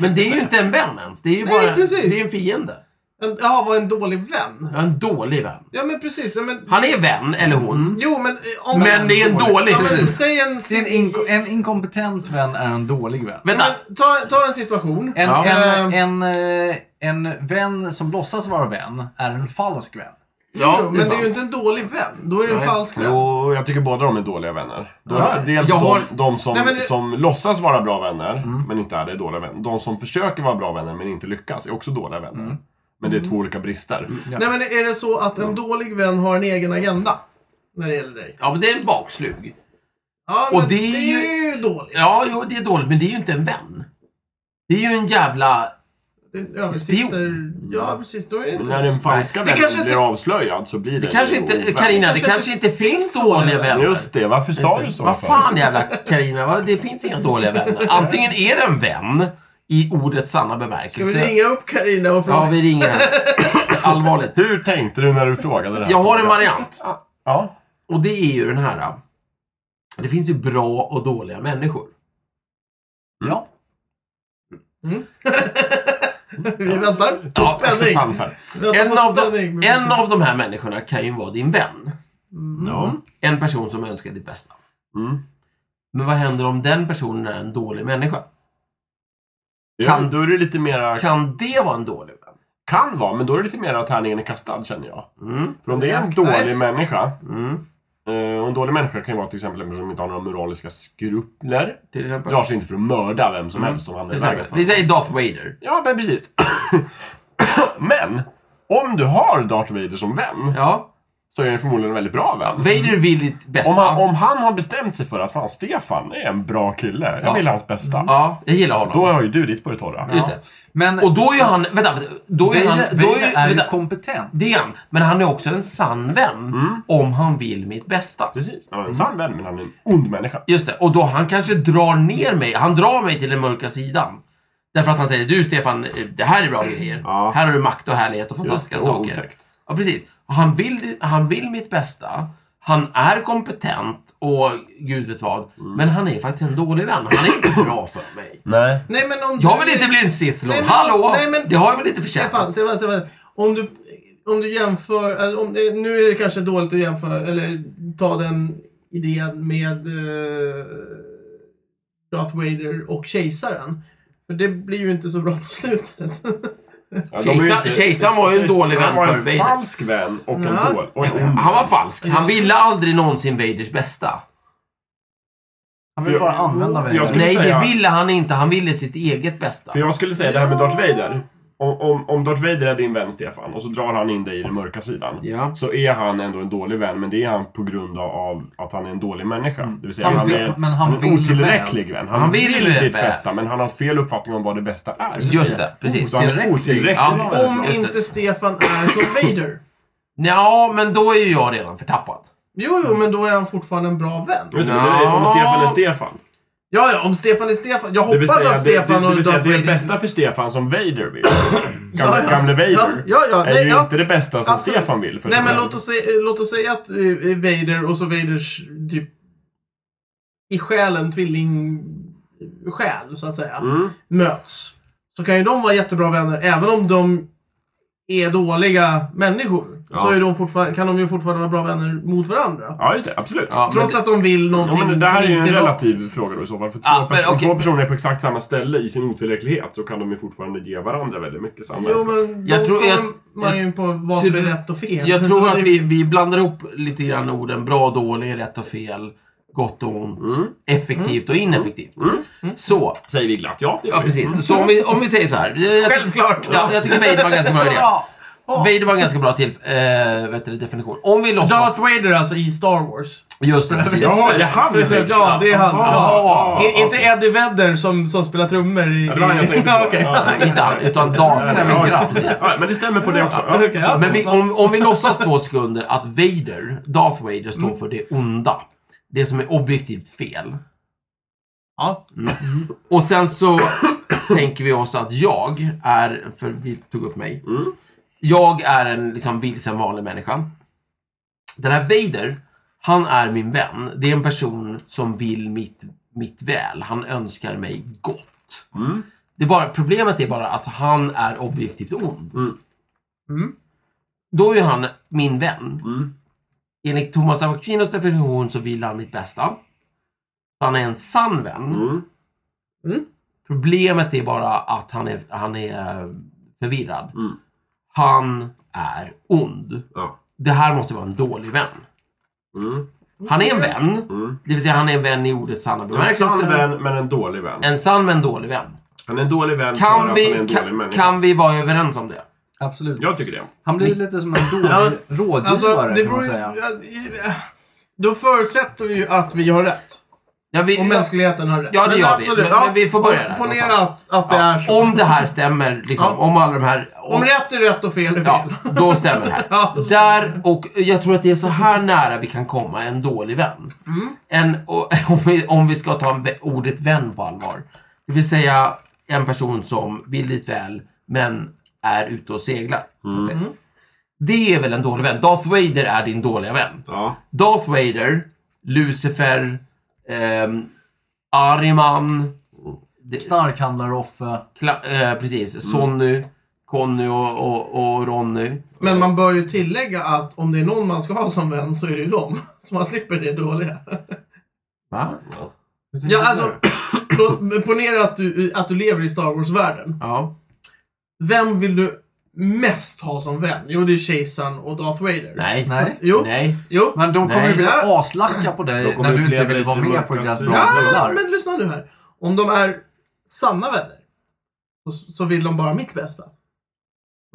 Men det är ju inte en vän ens. Det är ju
Nej,
bara
precis.
det är en fiende.
En, ja, vad är en dålig vän?
Ja, En dålig vän.
Ja, men precis. Ja, men,
Han är vän, eller hon.
jo, men... eh, Om
Men det är en dålig.
Ja, men,
Precis.
säg en...
En, inko- en inkompetent vän är en dålig vän.
Ja,
Vänta.
men, ta, ta en situation.
En,
Ja.
en,
Ehm.
en, eh, en vän som låtsas vara vän är en falsk vän.
Ja,
jo, men det är ju
sant.
inte en dålig vän. Då är det en
Nej.
falsk vän.
Jo, jag tycker båda de är dåliga vänner. Då,
Ja.
Dels
Jag har- Mm.
de, de som,
Nej, men det-
som låtsas vara bra vänner, men inte är det, är dåliga vänner. De som försöker vara bra vänner, men inte lyckas, är också dåliga vänner.
Mm.
Men det är två olika brister.
Ja.
Nej men är det så att en dålig vän har en egen agenda? När det gäller dig?
Ja, men det är en bakslug.
Ja,
Och
men
det
det
är
är ju dåligt.
Ja, jo, det är dåligt, men det är ju inte en vän. Det är ju en jävla
Den översitter... Ja, precis. Då är det
När
inte...
den falska
Nej, det
vännen
kanske
blir
inte-
avslöjad så blir det
Det kanske inte, Carina, det
Kanske
kanske
inte
inte finns
finns några
dåliga
vänner.
vänner.
Just det, varför sa du så?
Vad
för?
fan jävla Carina, vad- det finns inga dåliga vänner. Antingen är det en vän i ordets sanna
Ska vi
bemärkelse.
ringa upp Carina och
Ja,
fråga?
vi ringer henne. Allvarligt.
Hur tänkte du när du frågade det här?
Jag har en variant.
Ja.
Och det är ju den här. äh, Det finns ju bra och dåliga människor.
Mm.
Ja.
Vi, väntar på
Ja,
spänning.
acceptans här.
Vi väntar
En
på
av, de,
spänning.
en av de här människorna kan ju vara din vän.
Mm.
Ja.
En person som önskar ditt bästa.
Mm.
Men vad händer om den personen är en dålig människa?
Ja,
Kan-
då är det lite mera... Kan,
Kan det vara en dålig vän?
vara, men då är det lite mera tärningen är kastad känner jag.
Mm,
För om det är en
Jäkla
dålig
häst.
människa.
mm,
eh, Och en dålig människa kan ju vara till exempel en person som inte har några moraliska skrupler.
till exempel.
Drar sig inte för att mörda vem som
Mm.
helst som
Till
handlar i vägen.
exempel. Vi säger Darth Vader.
Ja, men precis. men! Om du har Darth Vader som vän
Ja.
så är det förmodligen en väldigt bra
ja.
vän.
Vader vill ditt bästa.
Om han, om han har bestämt sig för att fan, Stefan är en bra kille. Jag
Ja.
vill hans bästa.
Ja, jag gillar honom.
Då har ju du ditt på det torra.
Just det.
Men
Och då är ju han... Vänta, vänta, då är han...
Vader,
Då är,
Vader är ju
vänta,
kompetent.
det är han. Men han är också en sann vän.
Mm.
Om han vill mitt bästa.
Precis. Han är
Mm.
en sann vän, men han är en ond människa.
Just det, och då han kanske drar ner mig. Han drar mig till den mörka sidan. Därför att han säger du Stefan, eh, det här är bra grejer.
Ja.
Här har du makt och härlighet och fantastiska
Just det, Oh, och
saker.
otäckt.
Ja, precis. Och Han vill, han vill mitt bästa. Han är kompetent och gud vet vad.
Mm.
Men han är faktiskt en dålig vän. Han är inte bra för mig.
Nej.
Nej, men om
Jag
du-
vill inte bli en Sith Lord.
Nej, men-
Hallå!
nej, men-
det har jag väl inte
Stefan,
förtjänat?
Stefan, Stefan. Om du, om du jämför, eller om, eh, nu är det kanske dåligt att jämföra, eller ta den idén med eh, Darth Vader och Kejsaren. För det blir ju inte så bra på slutet.
Ja, de är ju
Kejsar-
inte-
kejsaren var ju en dålig vän för
Han var
Vader.
en falsk vän och en
Ja.
dålig. Och en ond.
Han var falsk. Han ville aldrig någonsin Vaders bästa.
Han vill bara använda
Jag
Vader.
skulle
Nej,
säga-
det ville han inte. Han ville sitt eget bästa.
För jag skulle säga det här med Darth Vader. Om, om, om Darth Vader är din vän, Stefan, och så drar han in dig i den mörka sidan.
Ja.
Så är han ändå en dålig vän, men det är han på grund av- av att han är en dålig människa.
Mm.
Det vill säga,
Han
han,
vill-
är,
men han
han är en
vill
otillräcklig vän. Han,
Han vill
vill,
väl.
ditt bästa, men han har fel uppfattning om vad det bästa är.
Just det, precis.
Så han är otillräcklig.
Ja.
Om
Just det.
inte Stefan är som Vader.
Ja, men då är ju jag redan förtappad.
Jo, jo, men då är han fortfarande en bra vän.
Just det, men det är om Stefan är Stefan.
Ja, ja, om Stefan är Stefan. Jag
Det vill
hoppas
säga,
att Stefan
det, det, det,
och
vill säga,
Darth
det är
Vader...
det bästa för Stefan som Vader vill. Gamle,
Ja, ja.
gamle Vader
Ja, ja, ja.
är
Nej,
ju
ja.
inte det bästa som
Absolut.
Stefan vill. För
Nej,
att-
men låt oss, säga, låt oss säga att eh, Vader och så Vaders typ i själen tvilling själ så att säga
Mm.
möts. Så kan ju de vara jättebra vänner även om de är dåliga människor. Så är de fortfarande, kan de ju fortfarande vara bra vänner mot varandra.
Ja, just det. Absolut.
Ja, men,
Trots att de vill
Ja,
någonting
men det här är
som
ju en
inte är bra.
relativ fråga då i så fall. För två,
Ja, men
perso-
okej.
två personer är på exakt samma ställe i sin otillräcklighet så kan de ju fortfarande ge varandra väldigt mycket
Jo,
samhällskap.
men
Jag
då
tror- jag-
kommer man ju på vad som är
tror-
rätt och fel.
jag
Så
tror
det-
att vi, vi blandar ihop lite grann orden bra och dålig, rätt och fel, gott och ont,
Mm.
effektivt och ineffektivt. Så,
Säger vi glatt ja. det gör
ja
vi.
precis. Så om vi, om vi säger så här. Jag, jag,
Självklart!
ja, jag tycker Vader var en ganska bra idé.
Bra.
Vader var en ganska bra till, eh, vet du, definition. Om vi låtsas...
Darth Vader alltså i Star Wars.
Just det, precis.
Jaha, det är han vi säger.
Ja, det är han.
Jaha.
Ja. I- Inte Eddie Vedder som, som spelar trummor i...
Ja, det var han jag tänkte på.
Ja, okej.
Ja.
Nej, inte han, utan Darth
Ja,
Vader.
ja,
Precis.
ja, men det stämmer på det också. Ja.
Okej, ja.
Men vi, om, om vi låtsas två sekunder att Vader, Darth Vader, står för det onda. Det som är objektivt fel.
Ja.
Och sen så tänker vi oss att jag är, för vi tog upp mig.
Mm.
Jag är en liksom vilsen vanlig människa. Den här Vader, han är min vän. Det är en person som vill mitt, mitt väl. Han önskar mig gott.
Mm.
Det är bara, problemet är bara att han är objektivt ond.
Mm.
Mm.
Då är ju han min vän.
Mm.
Enligt Thomas av Aquinos definition så vill han mitt bästa. Han är en sann vän.
Mm.
Problemet är bara att han är, han är eh, förvirrad.
Mm.
Han är ond.
Ja.
Det här måste vara en dålig vän.
Mm.
Han är en vän.
Mm.
Det vill säga han är en vän i ordets sanna
En
bemärkelse.
sann vän, men en dålig vän.
En sann men dålig vän.
Han är en dålig vän för
Kan
att han är en
vi,
dålig
kan,
människa.
kan vi vara överens om det?
Absolut.
Jag tycker det.
Han blir lite som en
Ja,
dålig rådgivare
Alltså, det
kan man
beror
säga.
ju... ja, Då förutsätter vi ju att vi har rätt.
Ja, vi,
Om mänskligheten har rätt.
Ja, det
Men
gör vi.
absolut,
Men- men vi får börja där
Ponera
någonstans.
att, att det
ja,
är så. Om,
Om det här stämmer, liksom,
Ja.
om alla de här...
rätt är rätt och fel är fel.
Ja, då stämmer det här.
Ja.
Där, och jag tror att det är så här nära vi kan komma en dålig vän. En, och, om, vi, om vi ska ta en, vä- ordet vän på allvar. Det vill säga en person som vill lite väl, men är ute och seglar. så att säga. Det är väl en dålig vän. Darth Vader är din dåliga vän.
Mm.
Ja.
Darth Vader, Lucifer, ehm, Ariman, det-
Snarkhandlare Offe.
Kla- eh, precis, Sonny, Conny och, och, och Ronny.
Men man bör ju tillägga att om det är någon man ska ha som vän så är det ju dem. Så man slipper det dåliga.
Va?
Hur tänker
Ja,
du?
alltså, då- ponera att du, att du lever i Star Wars-världen.
Ja.
Vem vill du mest ha som vän? Jo, det är kejsaren och Darth Vader.
Nej.
Nej.
Jo,
Nej.
jo.
Men de kommer
Nej.
ju bli aslacka på
Då
dig
kommer
när
vi
du inte
leva
vill
i
vara med på
mörka
deras
sidor.
bra
Ja,
bullar.
men lyssna nu här. Om de är sanna vänner så, så vill de bara mitt bästa.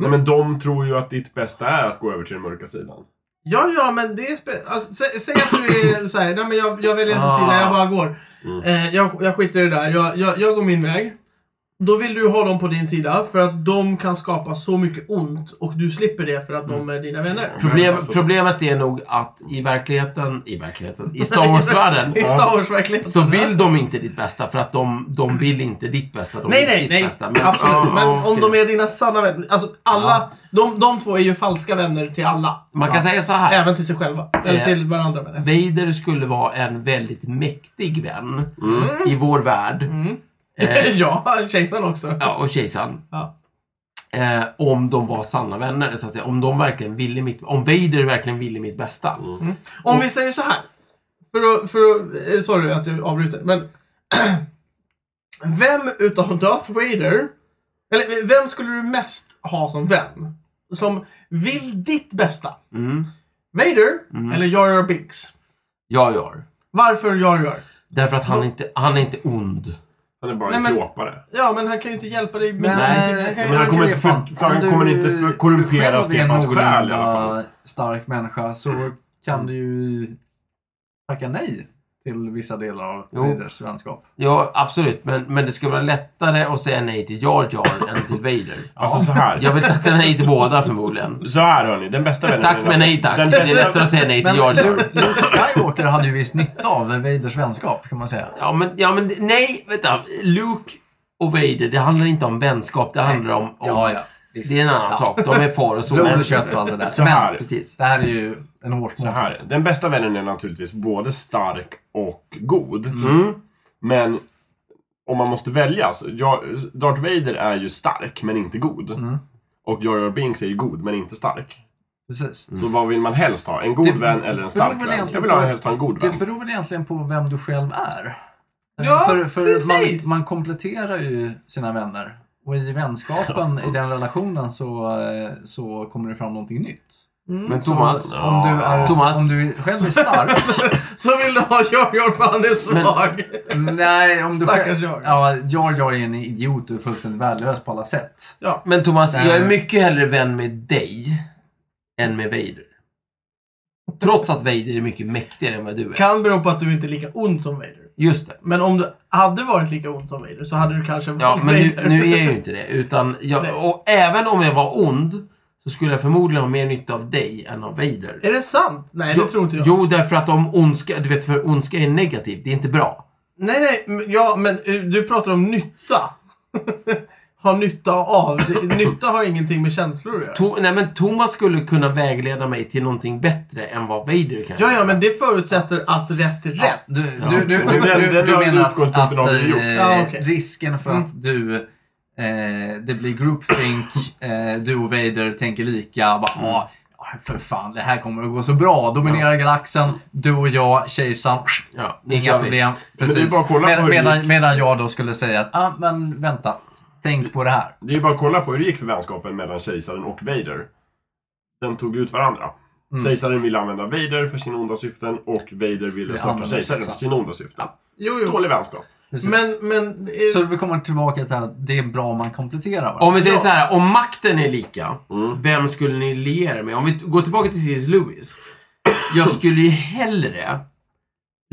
Nej, men de tror ju att ditt bästa är att gå över till den mörka sidan.
Ja, ja, men det är spe- alltså, sä- Säg att du är såhär, nej men jag, jag väljer inte
Ah. Mm.
sida, jag bara går. Eh, jag, jag skiter i det där, jag, jag, jag går min väg. Då vill du ha dem på din sida för att de kan skapa så mycket ont och du slipper det för att
Mm.
de är dina vänner.
Problem,
alltså-
problemet är nog att i verkligheten, i verkligheten, i Star Wars-världen
I Star Wars verkligen.
så vill de inte ditt bästa för att de, de vill inte ditt bästa. De
Nej,
vill
nej,
sitt
nej.
bästa.
Absolut.
Ja,
men
ja,
om
okej.
de är dina sanna vänner. Alltså alla, de, de två är ju falska vänner till alla.
Man kan säga så här.
Även till sig själva. Eller
Eh.
till varandra menar jag.
Vader skulle vara en väldigt mäktig vän i vår värld.
Mm.
Eh,
ja, kejsaren också.
Ja, och kejsaren.
Ja.
Eh, om de var sanna vänner, så att säga. Om de verkligen ville mitt... Om Vader verkligen ville mitt bästa.
Om vi säger så här. För att, för att, eh, sorry att jag avbryter, men vem utav Darth Vader, eller eh, vem skulle du mest ha som vän? Som vill ditt bästa?
Mm.
Vader eller Jar Jar Binks?
Jag gör.
Varför Jar Jar?
Därför att han,
Mm.
inte, han är inte ond.
Han är bara
Nej,
en
men-
klåpare.
Ja, men han kan ju inte hjälpa dig med
Nej.
någonting. Han kan ju-
Men han kommer inte för-
Stefan,
för han
om du-
kommer inte för- korrumpera
du själv är en
Stefans själ i alla Mm.
någorlunda stark människa så kan du ju tacka nej till vissa delar av
Jo.
Vaders vänskap.
Ja, absolut. Men, men det skulle vara lättare att säga nej till Jar Jar än till Vader.
Alltså så här.
Jag vill tacka nej till båda förmodligen.
Så här hörni, den bästa vännen...
Tack men nej tack.
Den
Det är
bästa,
lättare att säga nej
Men
till Jar Jar.
Luke Skywalker hade ju viss nytta av Vaders vänskap kan man säga.
Ja men, ja, men nej, vänta. Luke och Vader, det handlar inte om vänskap. Det handlar om... om
Ja, ja. Visst.
Det är en annan sak. De är far och son.
Blod och kött och allt det där.
Så här.
Men
Precis.
det här är ju en
så
hårsmål.
här. Den bästa vännen är naturligtvis både stark och god.
Mm.
Mm. Men om man måste välja. Så jag, Darth Vader är ju stark men inte god.
Mm.
Och Jar Jar Binks är ju god men inte stark.
Precis.
Mm.
Så vad vill man helst ha? En god
Det
vän eller en
beror
stark
väl
vän? Jag
egentligen
vill ha
på-
helst ha en god
Det
vän.
beror väl egentligen på vem du själv är. Eh,
Ja,
för för
precis.
Man, man kompletterar ju sina vänner. Och i vänskapen, i den relationen, så, eh, så kommer det fram någonting nytt. Mm.
Men Thomas.
Så om, du är,
Thomas.
om du själv är stark.
Så vill du ha Jar Jar för han är svag.
nej, om du
Stackars
själv,
jag.
Ja, jag, jag är en idiot och fullständigt värdelös på alla sätt.
Men Thomas,
Nej.
jag är mycket hellre vän med dig än med Vader. Trots att Vader är mycket mäktigare än vad du är.
Kan bero på att du inte är lika ond som Vader.
Just det.
Men om du hade varit lika ond som Vader så hade du kanske valt
Ja, men nu,
Vader.
nu är jag ju inte det. Utan
Nej.
jag, och även om jag var ond så skulle jag förmodligen ha mer nytta av dig än av Vader.
Är det sant? Nej, det
Jo-
tror inte jag.
Jo, därför att om ondska, du vet för ondska är negativt, det är inte bra.
Nej, nej, men- ja, men eh, du pratar om nytta. ha nytta av. Det- Nytta har ingenting med känslor att göra.
To, nej men Thomas skulle kunna vägleda mig till någonting bättre än vad Vader kan.
Ja, ja, men det förutsätter att rätt är rätt.
Du, du, du,
Ja.
du,
Den-
du,
den
du
har
menar att,
utgångspunkten
att
har vi gjort.
eh,
Ja, okej.
risken för att du eh, det blir groupthink, eh, du och Vader tänker lika. Bara,
Mm.
"Ah, ja, för fan, det här kommer att gå så bra. Dominera galaxen, du och jag, kejsaren.
Ja, nu kör
Inga
vi.
problem.
är
Precis.
bara att kolla på
Med,
hur det
medan,
gick.
medan jag då skulle säga att, ah, men vänta, tänk på det här.
Det är ju bara att kolla på hur det gick för vänskapen mellan kejsaren och Vader. Den tog ut varandra.
Mm.
Kejsaren ville använda Vader för sina onda syften och Vader ville
Vi
störta
använder
kejsaren för
kejsaren.
sina onda syften.
Jo, jo.
Dålig vänskap.
Precis.
Men, men... eh,
så vi kommer tillbaka till att det är bra om man kompletterar varandra.
Om vi säger
Ja.
så här, om makten är lika,
Mm.
vem skulle ni liera er med? Om vi t- går tillbaka till C.S. Lewis. Jag skulle ju hellre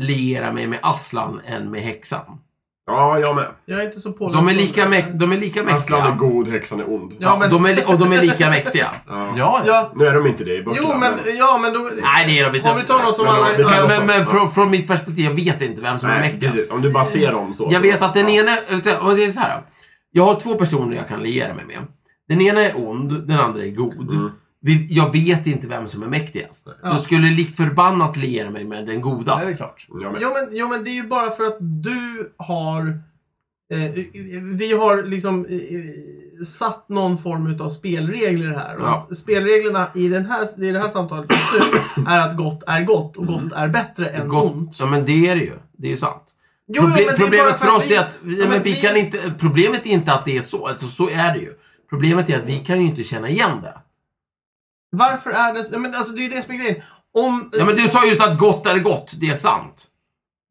liera mig med Aslan än med häxan.
Ja, jag med.
Jag är inte så påläst.
De är
på
lika,
det.
mäk- de är lika
Aslan är
mäktiga.
god, häxan är ond.
Ja, men-
de är li- och de är lika mäktiga.
Ja.
Ja, ja.
Ja,
Nu är de inte det i böckerna.
jo men, ja men då...
Nej, det är de inte.
Om vi tar något som
Men-
alla...
men-
men,
alla-
men, men från, från mitt perspektiv, jag vet inte vem som är
Nej,
mäktigast.
precis. Om du bara ser dem så.
Jag vet att den ena, om jag säger så här. då. Jag har två personer jag kan liera mig med. Den ena är ond, den andra är god.
Mm.
Vi, jag vet inte vem som är mäktigast.
Ja.
Jag skulle likt förbannat liera mig med den goda.
det är klart.
Jag med.
Jo men, jo men det är ju bara för att du har... Eh, vi har liksom eh, satt någon form av spelregler här. Och
Ja.
att Spelreglerna i, den här, i det här samtalet just nu är att gott är gott och
Mm.
gott är bättre än ont.
Ja, men det är det ju. Det är ju sant.
Jo, jo, men det är bara
problemet
för
för
att
oss
vi-
är att vi,
Ja,
men
men
vi
vi-
kan inte, problemet är inte att det är så. Alltså, så är det ju. Problemet är att vi kan ju inte känna igen det.
Varför är det... Ja, men alltså, det är ju det som är grejen. Om...
Ja, men du sa just att gott är gott. Det är sant.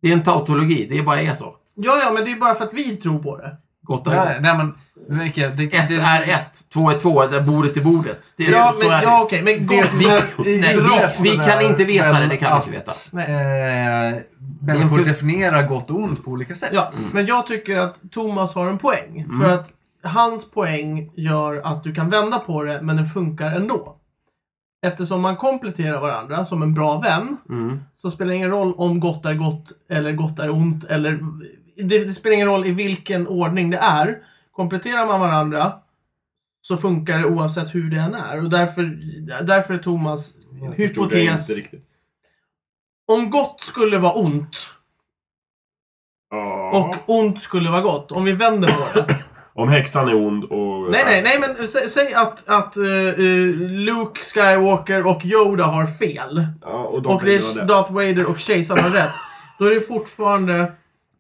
Det är en tautologi. Det är bara är så.
ja, ja, men det är ju bara för att vi tror på det.
Gott är gott.
Nej, nej men, Micke, det, det,
Ett är ett, två är två, där bordet är bordet. Det är,
Ja,
så
men,
är det.
ja okej. Men gott
som
Vi-
är... i-
nej,
bra.
vi- vi kan inte veta det, det kan vi inte veta.
veta.
Det
Eh,
är
människor
för-
definierar gott och ont på olika sätt.
Ja, men jag tycker att Thomas har en poäng. För att hans poäng gör att du kan vända på det, men den funkar ändå. Eftersom man kompletterar varandra som en bra vän,
Mm.
så spelar det ingen roll om gott är gott eller gott är ont. Eller, det, det spelar ingen roll i vilken ordning det är. Kompletterar man varandra så funkar det oavsett hur det än är. Och därför, därför är Thomas
Jag förstod det
hypotes,
inte riktigt.
om gott skulle vara ont
Ja.
och ont skulle vara gott, om vi vänder på det.
Om häxan är ond och...
Nej, nej, nej, men sä, säg att, att eh, eh, Luke Skywalker och Yoda har fel.
Ja, och de
Och det är Darth Vader och Kejsaren har rätt. Då är det fortfarande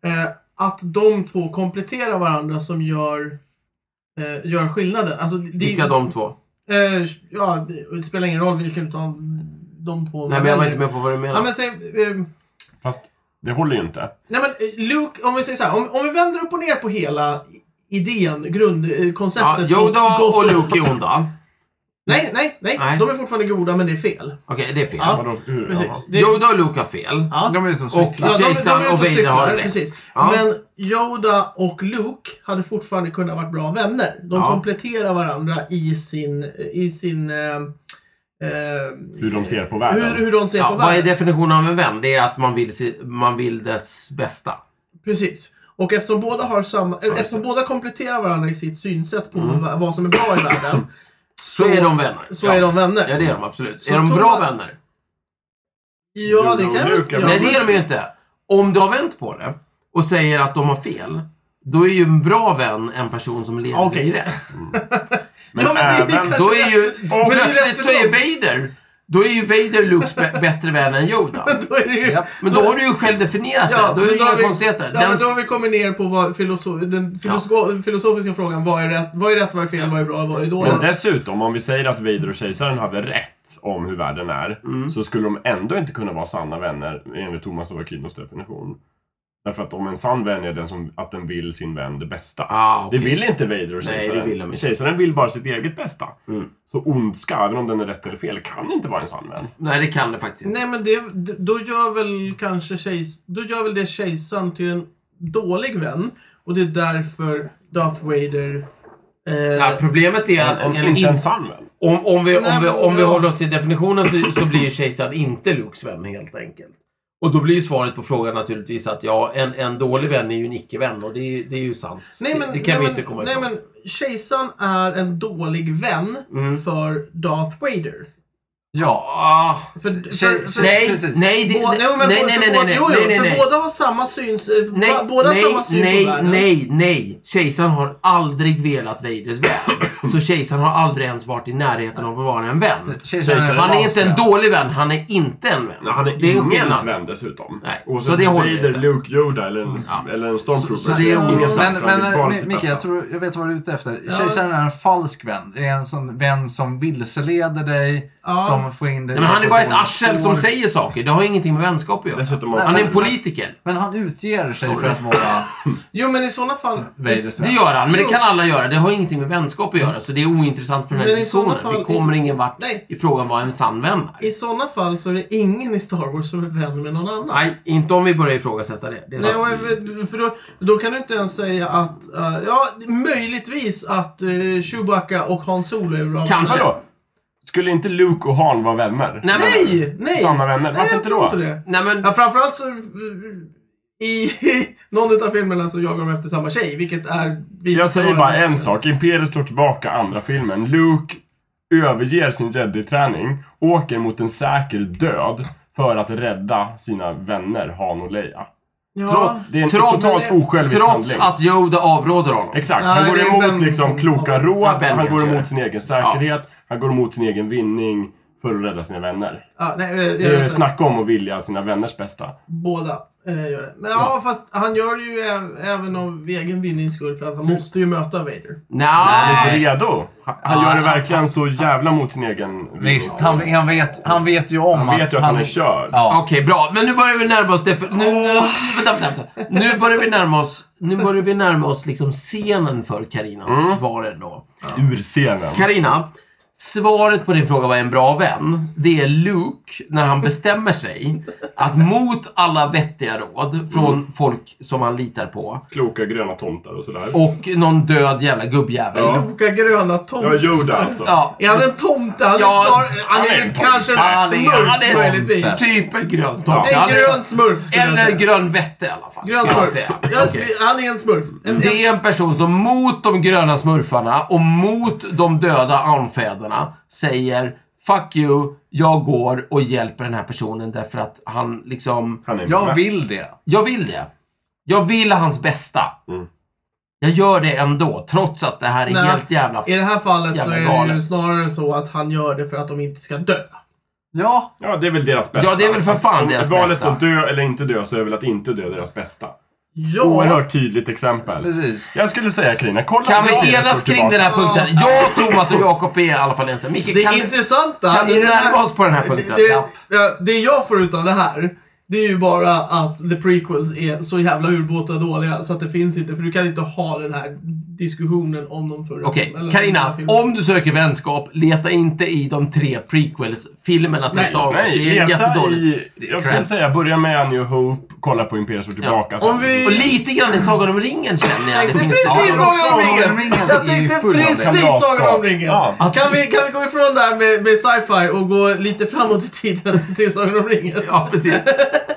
eh, att de två kompletterar varandra som gör, eh, gör skillnaden. Alltså, det, det-
Vilka de två?
Eh, ja, det spelar ingen roll vilken utav de två
Nej,
man
men jag var
väljer.
inte med på vad du
Ja,
menar.
men säg... Eh,
Fast det håller ju inte.
Nej men eh, Luke, om vi säger så här, om, om vi vänder upp och ner på hela idén, eh,
Ja,
grundkonceptet.
Yoda och Luke är onda.
Nej, nej, nej,
Nej.
De är fortfarande goda, men det är fel.
Okej, det är fel.
Ja,
Vadå? Hur?
Precis. Det,
Yoda och Luke har fel.
ja.
De är ute och
Och
cyklar.
Ja, de- de är
Kejsaren
ute
och Vader
cyklar,
har rätt.
Precis.
Ja.
Men Yoda och Luke hade fortfarande kunnat vara bra vänner. De
Ja.
kompletterar varandra i sin... I sin eh, eh,
Hur de ser på världen.
hur, hur de ser
Ja,
på
vad är
världen.
definitionen av en vän? Det är att man vill, se, man vill dess bästa.
Precis. Och eftersom båda, har samma, eh, eftersom båda kompletterar varandra i sitt synsätt på vad- vad som är bra i världen.
Så, är de vänner.
Så
ja.
är de vänner.
Ja, det är de absolut.
Så
är de
Thomas-
bra vänner?
Ja, det
Yoda och
kan
Luke är
ja,
Nej, det är
men-
de ju inte. Om du har vänt på det och säger att de har fel, då är ju en bra vän en person som leder
Okej.
dig rätt.
Men,
Ja, men det är
även...
kanske-
Då är ju...
Men det är rätt
plötsligt
för
så är
dem.
Vader... Då är ju Vader Lukes bä- bättre vän än Yoda.
Då är det ju...
Japp.
Men då har du ju själv definierat det. Då är
men
det inga
vi-
konstigheter.
Ja, men
Den,
då har vi kommit ner på vad filoso- den filoso- filosofiska frågan. Vad är rätt, vad är, rätt, vad är fel, vad är bra, vad är dåligt?
Men dessutom, om vi säger att Vader och Kejsaren hade rätt om hur världen är,
Mm.
så skulle de ändå inte kunna vara sanna vänner enligt Thomas av Aquinos definition. Därför att om en sann vän är den som, att den vill sin vän det bästa.
Ah, okej.
Det vill inte Vader och
Nej,
Kejsaren.
det vill de inte.
Kejsaren vill bara sitt eget bästa.
Mm.
Så ondska, även om den är rätt eller fel, kan inte vara en sann vän.
Nej, det kan det faktiskt inte.
Nej, men det, d- då gör väl kanske kejs, då gör väl det kejsaren till en dålig vän. Och det är därför Darth Vader... Eh,
Ja, problemet är att...
En,
enligt-
inte en sann vän.
Om, om, vi,
Nej,
om, vi,
men
om vi
ja.
håller oss till definitionen så, så blir ju kejsaren inte Lukes vän helt enkelt. Och då blir ju svaret på frågan naturligtvis att ja, en, en dålig vän är ju en icke-vän och det är, ju- det är ju sant.
nej, men,
det, det kan
nej,
vi
men,
inte komma
Nej,
ifrån.
men kejsaren är en dålig vän
Mm.
för Darth Vader.
Ja.
Ah,
För, för,
Tjej-
för,
nej,
precis.
nej, det,
Bå-
nej,
jo, men
nej,
bå-
nej,
för
nej,
båda-
nej,
jo, jo,
nej, nej,
för
nej.
Båda har samma syn, eh,
Nej,
ba- båda har
nej,
samma syn
nej,
på världen.
nej, nej. Kejsaren har aldrig velat Vaders väl. Så kejsaren har aldrig ens varit i närheten av att vara en vän.
Kejsaren
Kejsaren
Han är inte en
vansinnig.
dålig vän, han är inte en vän.
Nej, han är,
det är en
ingens
skillnad.
vän dessutom.
Nej,
Och
så
så
det håller
Vader,
inte.
Luke, Yoda eller en,
Ja.
eller en stormtrooper.
Så- så alltså, det är
Ingen
olika.
sann
Men,
vän,
men
vill bara
eh,
sitt
Micke,
bästa.
jag, tror, jag vet vad du är ute efter.
Ja.
Kejsaren är en falsk vän. Det är en sån vän som vilseleder dig,
Ja,
som liksom få in det...
Nej, men han är bara ett
det-
arsel som säger saker. Det har ju ingenting med vänskap att göra.
Dessutom har
Nej,
Han är en
men-
politiker.
Men han utger sig
Sorry.
för att vara
Jo, men i sådana fall...
Vader Svenne.
Det gör han, men det kan alla göra. Det har ingenting med vänskap att göra, så det är ointressant för den här
Men i sådana
diskussionen. Vi
fall-
kommer ingen vart
Nej.
i frågan vad en sann vän är.
I sådana fall så är det ingen i Star Wars som är vän med någon annan.
Nej, inte om vi börjar ifrågasätta det. det är
Nej,
sant.
och- för då, då kan du inte ens säga att... eh, ja, möjligtvis att uh, Chewbacca och Han Solo är bra.
Kanske.
Hallå! Alltså, Skulle inte Luke och Han vara vänner?
Nej, men,
Nej! Nej!
Sanna vänner.
Nej,
Varför
jag
inte
tror
då?
inte det.
nej, men,
Ja, framförallt så... eh, I någon av filmerna så jagar de efter samma tjej, vilket är... visar
Jag
sig
säger
vara
bara en
en-
sak. Imperiet står tillbaka andra filmen. Luke överger sin jedi-träning, åker mot en säker död för att rädda sina vänner Han och Leia.
Ja.
Trots-
Det är en
Trots-
totalt osjälvisk
trots
handling.
att Yoda avråder honom.
Exakt.
Nej,
Han går
det är
emot
Ben
liksom
som-
kloka råd,
Ja, Ben
han går
kanske
emot
det.
sin egen säkerhet, han går emot sin egen vinning för att rädda sina vänner.
Ja, nej, eh, jag,
Det
jag
är
vet inte.
snacka om att vilja sina vänners bästa.
Båda eh, gör det. Men ja, fast han gör det ju äv- även av egen vinnings skull, för att
Mm.
han måste ju möta Vader.
Han är
Nej.
inte redo. Han, han gör det verkligen så jävla mot sin egen vilja.
Visst, han, han, vet, han vet ju om
Han vet ju att han är körd.
Ja.
Okej, bra. Men nu börjar vi närma oss... Def- nu, nu, vänta, vänta, vänta. Nu börjar vi närma oss, nu börjar vi närma oss liksom scenen för Karinas
Mm.
svar ändå.
Ur scenen.
Karina, svaret på din fråga vad är en bra vän? Det är Luke när han bestämmer sig att mot alla vettiga råd från folk som han litar på
Kloka gröna tomtar och sådär.
och någon död jävla gubbjävel.
Ja.
Kloka gröna
Ja,
tomtar.
Yoda alltså.
Ja,
Är han en tomte? Han är,
Ja,
snar, han är,
han är en
kanske
tomte.
en
Han är
smurf
en
tomte.
möjligtvis.
typ en grön
Det
tomte.
är
Han
en
är-
grön smurf skulle jag
Eller
säga.
grön vette i alla fall.
Grön
ska jag
smurf.
säga.
Ja,
Okej.
Han är en smurf. En, en,
Det är en person som mot de gröna smurfarna och mot de döda anfäderna säger Fuck you, jag går och hjälper den här personen därför att han liksom...
Han är
Jag
med.
vill det.
Jag vill det. Jag vill hans bästa.
Mm.
Jag gör det ändå, trots att det här är
Nej.
helt jävla...
I det här fallet så
Jävla
är det ju
galet.
snarare så att han gör det för att de inte ska dö.
Ja,
Ja, det är väl deras bästa.
Ja, det är väl för fan
Om
deras
valet
bästa.
att dö eller inte dö så är väl att inte dö deras bästa.
Ja,
Oerhört tydligt exempel.
precis.
Jag skulle säga Carina, kolla
Kan
hur
vi
det
enas
står
kring den
tillbaka.
här punkten? Jag, Thomas och Jakob är i alla fall ense. Micke,
det
kan,
intressanta...
kan
i
vi
den här-
närma oss på den här
det,
punkten?
det, ja, det jag får ut av det här, det är ju bara att the prequels är så jävla urbåta dåliga så att det finns inte, för du kan inte ha den här diskussionen om de förra
Okej,
filmen, eller den här
Karina.
filmen.
Om du söker vänskap, leta inte i de tre prequels-filmerna till
Nej,
Star Wars.
Nej,
det är
leta
jättedåligt.
i... Jag skulle säga, börja med A New Hope, kolla på Imperiet står tillbaka. sen.
Om vi-
Och lite grann i Sagan om ringen känner jag.
tänkte
Det finns
precis
Ja,
Sagan om ringen! Jag tänkte precis
Kamratskap.
Sagan om ringen!
Ja.
Kan, vi, kan vi gå ifrån det här med, med sci-fi och gå lite framåt i tiden till Sagan om ringen?
Ja, precis.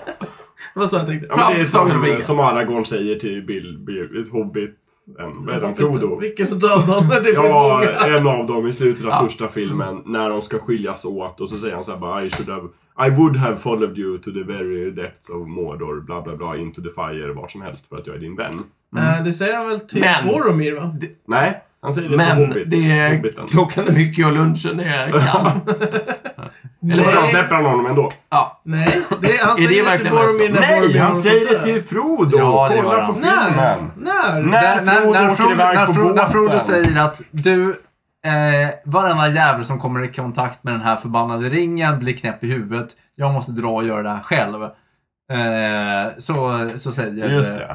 Det var så jag tänkte.
Ja, men det är
Framstången
som,
blir-
som Aragorn säger till Bill, Bill Hobbit, en, vad heter han, Frodo.
Vilken utav dem? Det finns
Ja, eh,
många.
en av dem i slutet av
Ja.
första filmen när de ska skiljas åt och så säger han så här bara I should have I would have followed you to the very depths of Mordor, bla bla bla, into the fire, vart som helst för att jag är din vän.
Eh, Det säger han väl till
Men-
Boromir va?
Nej, han säger det till
Men
Hobbit.
det är,
Hobbiten.
klockan är mycket och lunchen är kall. Eller
Och sen
vad?
släpper han honom ändå.
Ja.
Nej, det, han
det
säger det till
verkligen
Boromir när
Nej,
Boromir
han
var
säger det
borta.
till Frodo!
Ja, det gör
Kolla
han.
på
När?
filmen!
När?
När
När, när,
Frodo
när,
åker
Frodo,
iväg
när,
på
Frodo, när Frodo
båten.
säger att du, eh, varenda jävel som kommer i kontakt med den här förbannade ringen blir knäpp i huvudet. Jag måste dra och göra det här själv. Eh, så, så säger
Just det.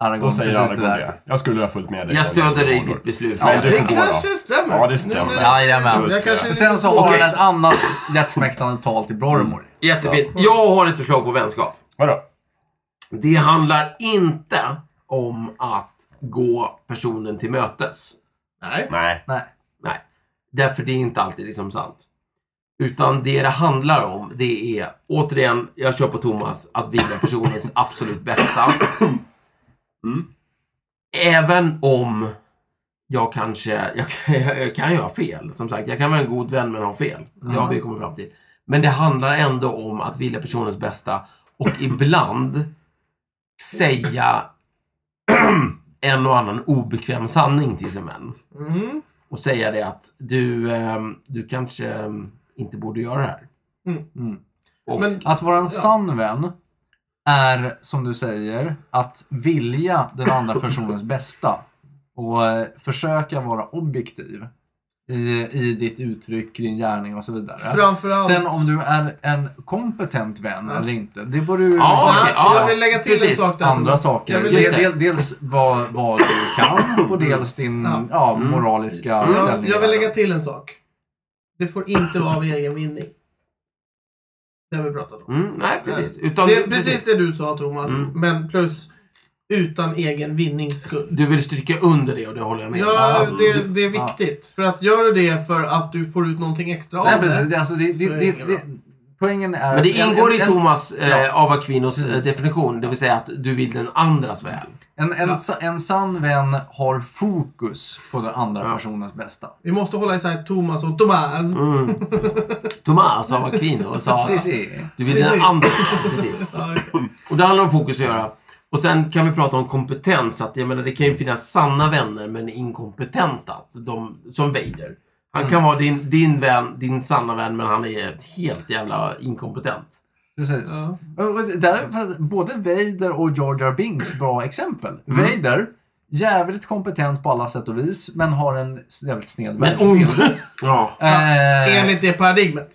Då
Aragorn
säger
precis
Aragorn
det där.
det. Jag skulle ha följt med dig.
Jag stöder dig i ditt beslut.
Men du
Det
får gå då.
kanske stämmer.
Ja, det stämmer.
Nu när-
Jajamän.
jag
Just det.
kanske är
Och sen
lite
så har
Okej.
han ett annat hjärtsmäktande tal till Boromir.
Mm.
Jättefint. Jag har ett förslag på vänskap.
Vadå?
Det handlar inte om att gå personen till mötes.
Nej.
Nej.
Nej.
Nej. Därför det är inte alltid liksom sant. Utan det det handlar om, det är återigen, jag kör på Thomas, att vilja personens absolut bästa.
Mm.
Även om jag kanske, jag, kan- jag, jag kan ju ha fel. Som sagt, jag kan vara en god vän men ha fel. Det har vi kommit fram till. Men det handlar ändå om att vilja personens bästa och ibland säga en och annan obekväm sanning till sin vän
Mm.
och säga det att du, ehm, du kanske ehm, inte borde göra det här.
Mm.
Och,
Men,
Att vara en sann vän är, som du säger, att vilja den andra personens bästa och eh, försöka vara objektiv i, i ditt uttryck, din gärning och så vidare.
Framförallt...
Sen om du är en kompetent vän
Ja.
eller inte, det borde du...
Ja,
Nej,
okej, ja,
jag vill lägga till
precis.
en sak där.
andra
Jag
saker.
vill-
Del,
Just det.
del, dels vad, vad du kan och dels din
Ja.
ja. moraliska
Mm.
jag,
ställning.
jag vill lägga till en sak. Det får inte vara av egen vinning. Det har vi pratat om.
Mm, nej, precis. Utan,
Det är precis det du sa Thomas,
Mm.
men plus utan egen vinnings skull.
Du vill stryka under det och det håller jag med om.
Ja,
Mm.
det, det är
Ja.
viktigt. För att gör du det för att du får ut någonting extra
Nej,
av
precis.
det.
Det, alltså, det,
Så är
det,
det
det,
inget
det, poängen är...
Men det
en-
ingår i
en-
Thomas
ja.
eh, av Aquinos eh,
Precis.
definition, det vill säga att du vill den andras väl.
En, en,
Ja.
sa- en sann vän har fokus på den andra
Ja.
personens bästa.
Vi måste hålla isär Thomas och Thomas.
Mm. Thomas av Aquino sa
Cici.
du vill den andras väl. Precis.
Ja, okej.
Och det handlar om fokus att göra. Och sen kan vi prata om kompetens. Att, jag menar, det kan ju finnas sanna vänner men inkompetenta. Att De, som Vader. Han kan vara din, din vän, din sanna vän, men han är helt jävla inkompetent.
Precis.
Ja.
Och- och Där är fast både Vader och George R. Binks bra exempel.
Mm.
Vader, jävligt kompetent på alla sätt och vis, men har en jävligt sned
Men
världsbild.
ond.
Ja.
Eh,
Enligt det paradigmet.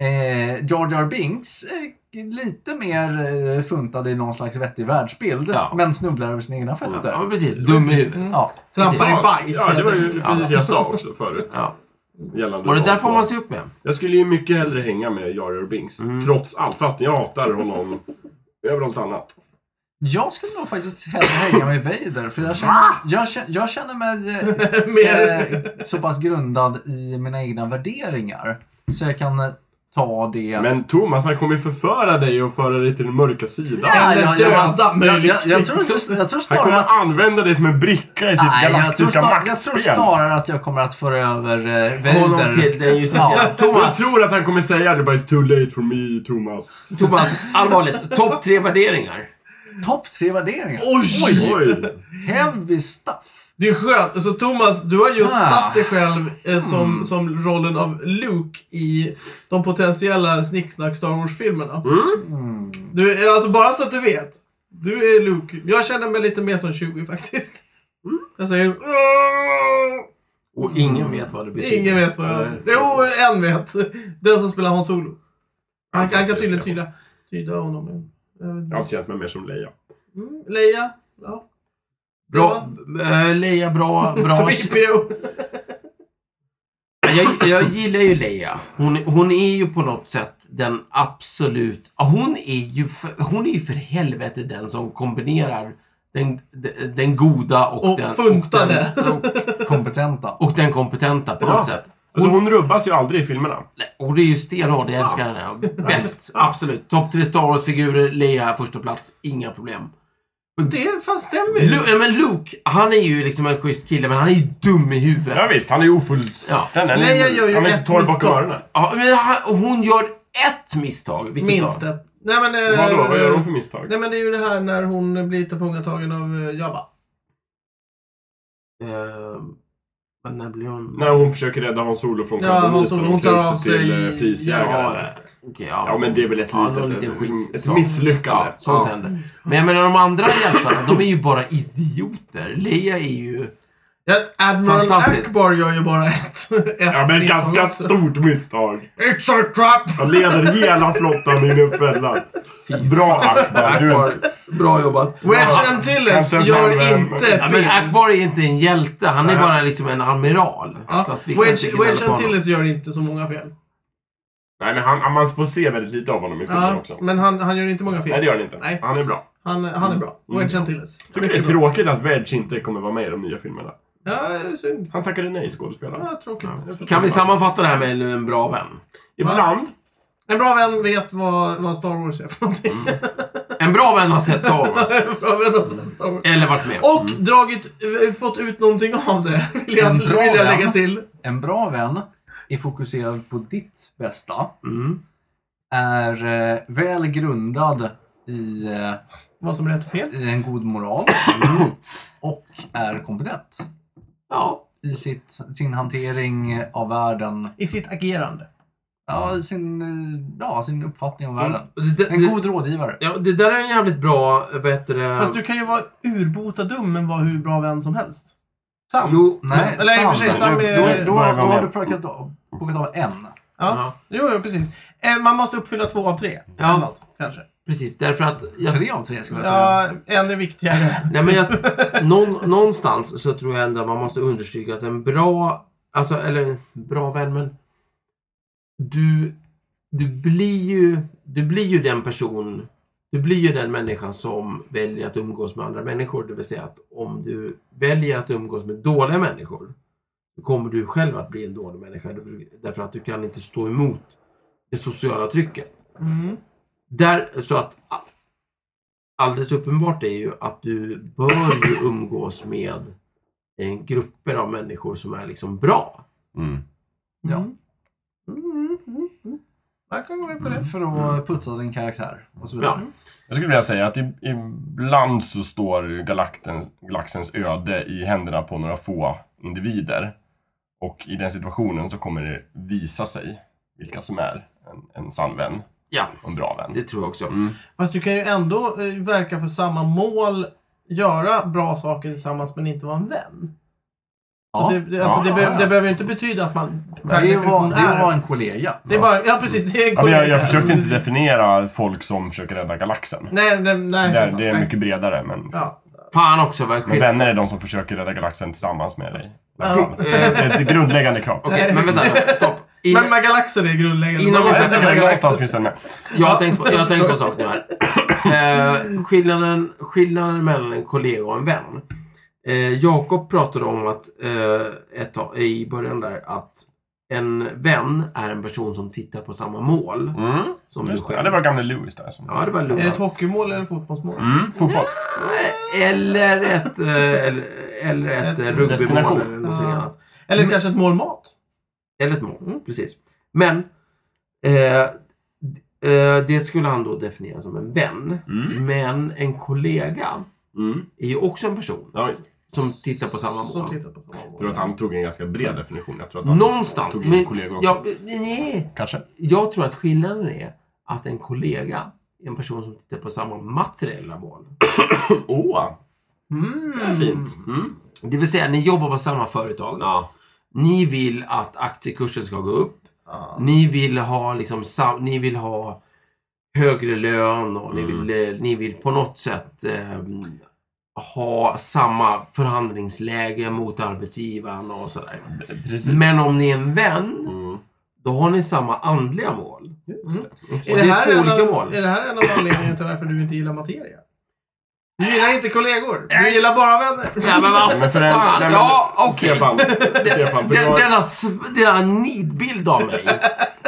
eh, George R. Binks eh, lite mer eh, funtad i någon slags vettig världsbild,
Ja.
men snubblar över sina egna fötter.
Ja, men precis. Dum i huvudet.
Mm.
Ja.
Trampar i bajs.
Ja, det var ju
helt enkelt.
precis det jag sa också förut.
Ja.
Gällande
Och det där
dem.
får man se upp med.
Jag skulle ju mycket hellre hänga med Jarre och Binks. Trots allt. Fast jag hatar honom över allt annat.
Jag skulle nog faktiskt hellre hänga med Vader, för jag känner, jag känner, jag känner mig eh,
Mer.
eh, så pass grundad i mina egna värderingar. Så jag kan eh, ta det.
Men Thomas, han kommer ju förföra dig och föra dig till den mörka sidan.
Ja, eller döda
jag, jag, jag,
möjligtvis.
tror, inte- jag tror
Han kommer
snarare...
använda dig som en bricka i sitt
Nej, jag tror,
galaktiska
snar, jag tror
maktspel.
snarare att jag kommer att föra över eh,
Honom
Vader.
till den ljusa
Ja.
sidan.
Jag
Thomas,
tror att han kommer säga det bara It's too late for me, Thomas.
Thomas, allvarligt. Topp tre värderingar.
Topp tre värderingar.
Oj!
Oj!
Heavy stuff.
Det är skönt. Alltså Thomas, du har just
Ah.
satt dig själv eh, som, som rollen av Luke i de potentiella snicksnack Star Wars-filmerna.
Mm.
Du, eh, alltså bara så att du vet. Du är Luke. Jag känner mig lite mer som 20 faktiskt.
Mm.
Jag säger... "Åh!"
Och ingen vet vad det betyder.
Ingen vet vad jag...
Nej.
Jo, en vet. Den som spelar Hans Solo. Han, han kan tydligen
Just det.
tyda, tyda honom.
Jag
Eh,
har känt mig mer som Leia.
Mm, Leia. Ja.
Bra, eh, Leia, bra,
Typ.
bra.
3PO.
Jag, jag gillar ju Leia. Hon, hon är ju på något sätt den absolut... ja, Hon är ju för, hon är ju för helvete den som kombinerar den, den- den goda och,
Och
den...
funtade.
Och den, och,
Kompetenta.
och den kompetenta på
Ja.
något sätt.
Alltså hon rubbas ju aldrig i filmerna.
Nej, Och det är ju stenhård, jag älskar henne. Bäst, absolut. Topp tre Star Wars-figurer, Leia första plats, inga problem.
Det fan stämmer ju.
Lu- nej, men Luke, han är ju liksom en schysst kille, men han är ju dum i huvudet.
Ja, visst, han är ju ofullständig. Han är-
Leia gör ju
Han är
ett
inte torr bakom
misstag.
öronen.
Ja, men han, och hon gör ett misstag. Vilket
Minst
då?
ett. Nej men... eh,
Vadå, vad gör hon för misstag?
Nej men det är ju det här när hon blir tillfångatagen av eh, Jabba.
Eh, men när blir hon...
När hon försöker rädda Hans Solo från
Ja,
karboniten
Hans Solo, hon
och
tar
klär
av
ut sig till
sig-
eh, prisjägaren.
Ja, okej,
Ja, men det är väl ett
Ja, det var
litet...
lite skit.
ett misslyckande.
Ja, sånt händer. Men jag menar de andra hjältarna, de är ju bara idioter. Leia är ju...
Ja, Admiral
Fantastiskt.
Akbar gör ju bara ett. ett
Ja, men ett
misstag
ganska
också.
stort misstag.
It's a trap!
Han leder hela flottan in i en fälla. Bra Akbar. Du,
Akbar, bra jobbat.
Wedge
Ja,
Antilles
Kanske
gör
en sån,
inte
men-
men
fel.
Akbar är inte en hjälte, han är bara liksom en amiral. Så
Ja,
att vi kan inte
Wedge
gnälla på
Wedge
honom.
Antilles gör inte så många fel.
nej, men han, man får se väldigt lite av honom i filmen
Ja,
också.
men han, han gör inte många fel.
Nej, det gör han inte. Mm.
Nej.
Han är bra.
Han, han är bra. Wedge Antilles.
Tycker det är
Mycket bra.
tråkigt att Wedge inte kommer vara med i de nya filmerna.
Ja, det är synd.
Han tackade nej, skådespelaren.
Ja, tråkigt.
Ja. Kan vi sammanfatta det här med en bra vän?
Ibland.
En bra vän vet vad, vad Star Wars är för någonting.
Mm.
En bra vän har sett Star Wars.
En bra vän har sett Star Wars.
Eller varit med.
Och dragit, eh, fått ut någonting av det, vill jag,
En
vill
bra
jag
vän.
lägga till.
En bra vän är fokuserad på ditt bästa.
Mm.
Är eh, väl grundad i eh,
Vad som är rätt och fel.
i en god moral
Mm.
och är kompetent
Ja.
i sitt, sin hantering av världen,
I sitt agerande.
ja, i sin, eh, ja, sin uppfattning om
Mm.
världen.
Det,
En
det,
god rådgivare.
Mm.
ja, det där är en jävligt bra, eh, vad heter det?
Fast du kan ju vara urbota dum men vara hur bra vän som helst. Sam.
Jo,
Nej,
Eller i och för sig,
Sam.
Sam
Nu-
är...
Då,
då-
då, då
Börjar vi
har
med.
du plockat av, plockat av en.
ja.
Ja,
Jo, jo, precis. Eh, Man måste uppfylla två av tre.
Ja.
Eller något, kanske.
precis. Därför att... Jag,
Tre av tre skulle jag säga.
Ja, en är viktigare.
Nej, men jag, någon, någonstans så tror jag ändå att man måste understryka att en bra, alltså, eller bra vän, men du, du blir ju, du blir ju den person, du blir ju den människan som väljer att umgås med andra människor. Det vill säga att om du väljer att umgås med dåliga människor, då kommer du själv att bli en dålig människa. Därför att du kan inte stå emot det sociala trycket.
Mm.
Där, så att a- alldeles uppenbart är ju att du bör ju umgås med eh, grupper av människor som är liksom bra.
Mm.
Ja.
Mm. Mm, mm, mm. Jag kan gå med på
Mm.
det.
För att putsa din karaktär och så
Ja.
vidare.
Jag skulle vilja säga att i- ibland så står galakten, galaxens öde i händerna på några få individer. Och i den situationen så kommer det visa sig vilka som är en, en sann vän
Ja,
och en bra vän.
det tror jag också.
Mm.
Fast du kan ju ändå eh, verka för samma mål, göra bra saker tillsammans men inte vara en vän. Så
Ja.
det, det, alltså,
Ja,
det,
ja,
be,
ja.
det behöver ju inte betyda att man
Det
per
är ju
definition
vad- det är ju
är.
vad en kollega.
Det är bara, ja precis. Det är
Ja, men jag, jag försökte inte definiera folk som försöker rädda galaxen.
Nej, nej, nej.
Där,
sant.
det är
Nej.
mycket bredare. Men,
Ja.
Fan också vad jag
men
skil-
vänner är de som försöker rädda galaxen tillsammans med dig.
Ja.
Det är ett grundläggande krav.
Okej, men vänta nu. Stopp. In,
Men med galaxer är grundläggande.
Innan
Man
vi
måste
sätter
tänka
igång
galaxer.
Någonstans finns den med.
jag har tänkt på, jag har tänkt på en sak nu här. Eh, skillnaden, skillnaden mellan en kollega och en vän. Eh, Jakob pratade om att eh, ett tag, i början där att en vän är en person som tittar på samma mål
Mm.
som du
Just det.
själv.
Ja, det var gamle Louis där. Som...
Ja, det var
Är det
Luleå.
ett hockeymål eller fotbollsmål?
Mm, fotboll.
Eller ett, eh, eller, eller
Ett
ett, eh, rugbymål
destination.
eller någonting
Ja.
annat.
Eller kanske ett mål mat?
Eller ett mål,
Mm.
precis. Men eh, eh, det skulle han då definiera som en vän.
Mm.
Men en kollega
Mm.
är ju också en person
Ja, visst.
som tittar på samma mål.
Som tittar på samma
Jag tror
mål.
att han tog en ganska bred definition. Jag tror att han
Någonstans.
tog in
Men,
kollegor också.
ja, men- nej.
Kanske.
Jag tror att skillnaden är att en kollega är en person som tittar på samma materiella mål.
Åh, det är
Mm.
fint. Mm.
Det vill säga, ni jobbar på samma företag.
Ja.
Ni vill att aktiekursen ska gå upp.
Ja.
Ni vill ha liksom, sam- ni vill ha högre lön och ni,
Mm.
vill, eh, ni vill på något sätt eh, ha samma förhandlingsläge mot arbetsgivaren och sådär.
Precis.
Men om ni är en vän,
Mm.
då har ni samma andliga mål.
Just
Och
Är
det
det,
är
här
två
en
olika
av,
mål.
är det här en av anledningarna till varför du inte gillar materia? Du gillar inte kollegor. Du gillar bara vänner.
Ja, men vad
Nej, men för en-
fan!
nej, men-
ja, okej.
Stefan. Stefan, för
Den,
jag...
denna, sv- denna nidbild av mig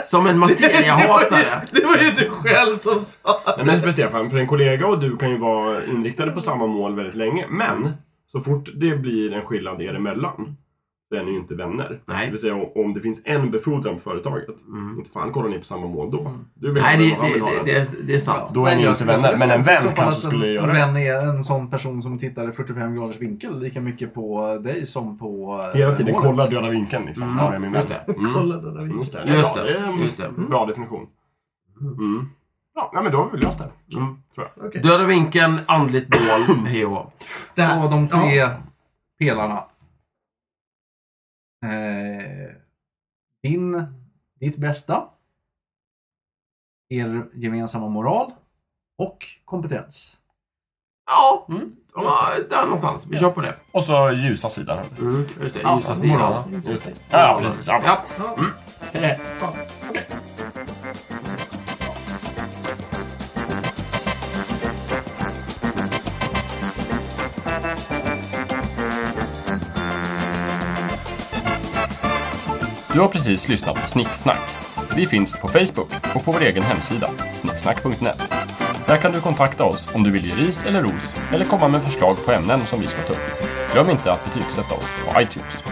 som en materiahatare.
Det var ju du själv som sa.
Nej, men för Stefan, för en kollega och du kan ju vara inriktade på samma mål väldigt länge. Men så fort det blir en skillnad er emellan, så är ni ju inte vänner.
Nej. Mm.
Det vill säga om- om det finns en befordran på företaget, inte fan kollar ni på samma mål då. Du vet
Nej,
vem
det,
han vill ha
det,
den.
det, det, är- det är sant.
Alltså, Då är ni
jag
inte
skulle
vänner,
säga
men en
så- så
vän
fall
kanske
att
skulle
en,
göra
En
det.
vän är en sån person som tittar i 45 graders vinkel lika mycket på dig som på eh,
Hela tiden
målet.
kolla döda vinkeln liksom.
Mm.
Var är min vän?
Just det.
Mm.
Kolla den där videon.
Just det.
Just
ja,
det,
det är en
just det. Mm.
Bra definition. Mm. Ja, nej, men då har vi löst det.
Mm.
Okej.
Döda vinkeln, andligt mål, hej och hå.
Det här-
Och de tre
Ja.
pelarna. Eh, din, ditt bästa. Er gemensamma moral. Och kompetens.
Ja,
Mm.
ja, där någonstans. Vi kör på det.
Och så ljusa sidan.
Mm. Just det,
Ja,
ljusa sidan.
moral.
Just det. Ja, precis. Ja.
Ja.
Ja. Ja.
Du har precis lyssnat på Snicksnack. Vi finns på Facebook och på vår egen hemsida, snicksnack.net. Där kan du kontakta oss om du vill ge ris eller ros eller komma med förslag på ämnen som vi ska ta upp. Glöm inte att betygsätta oss på iTunes.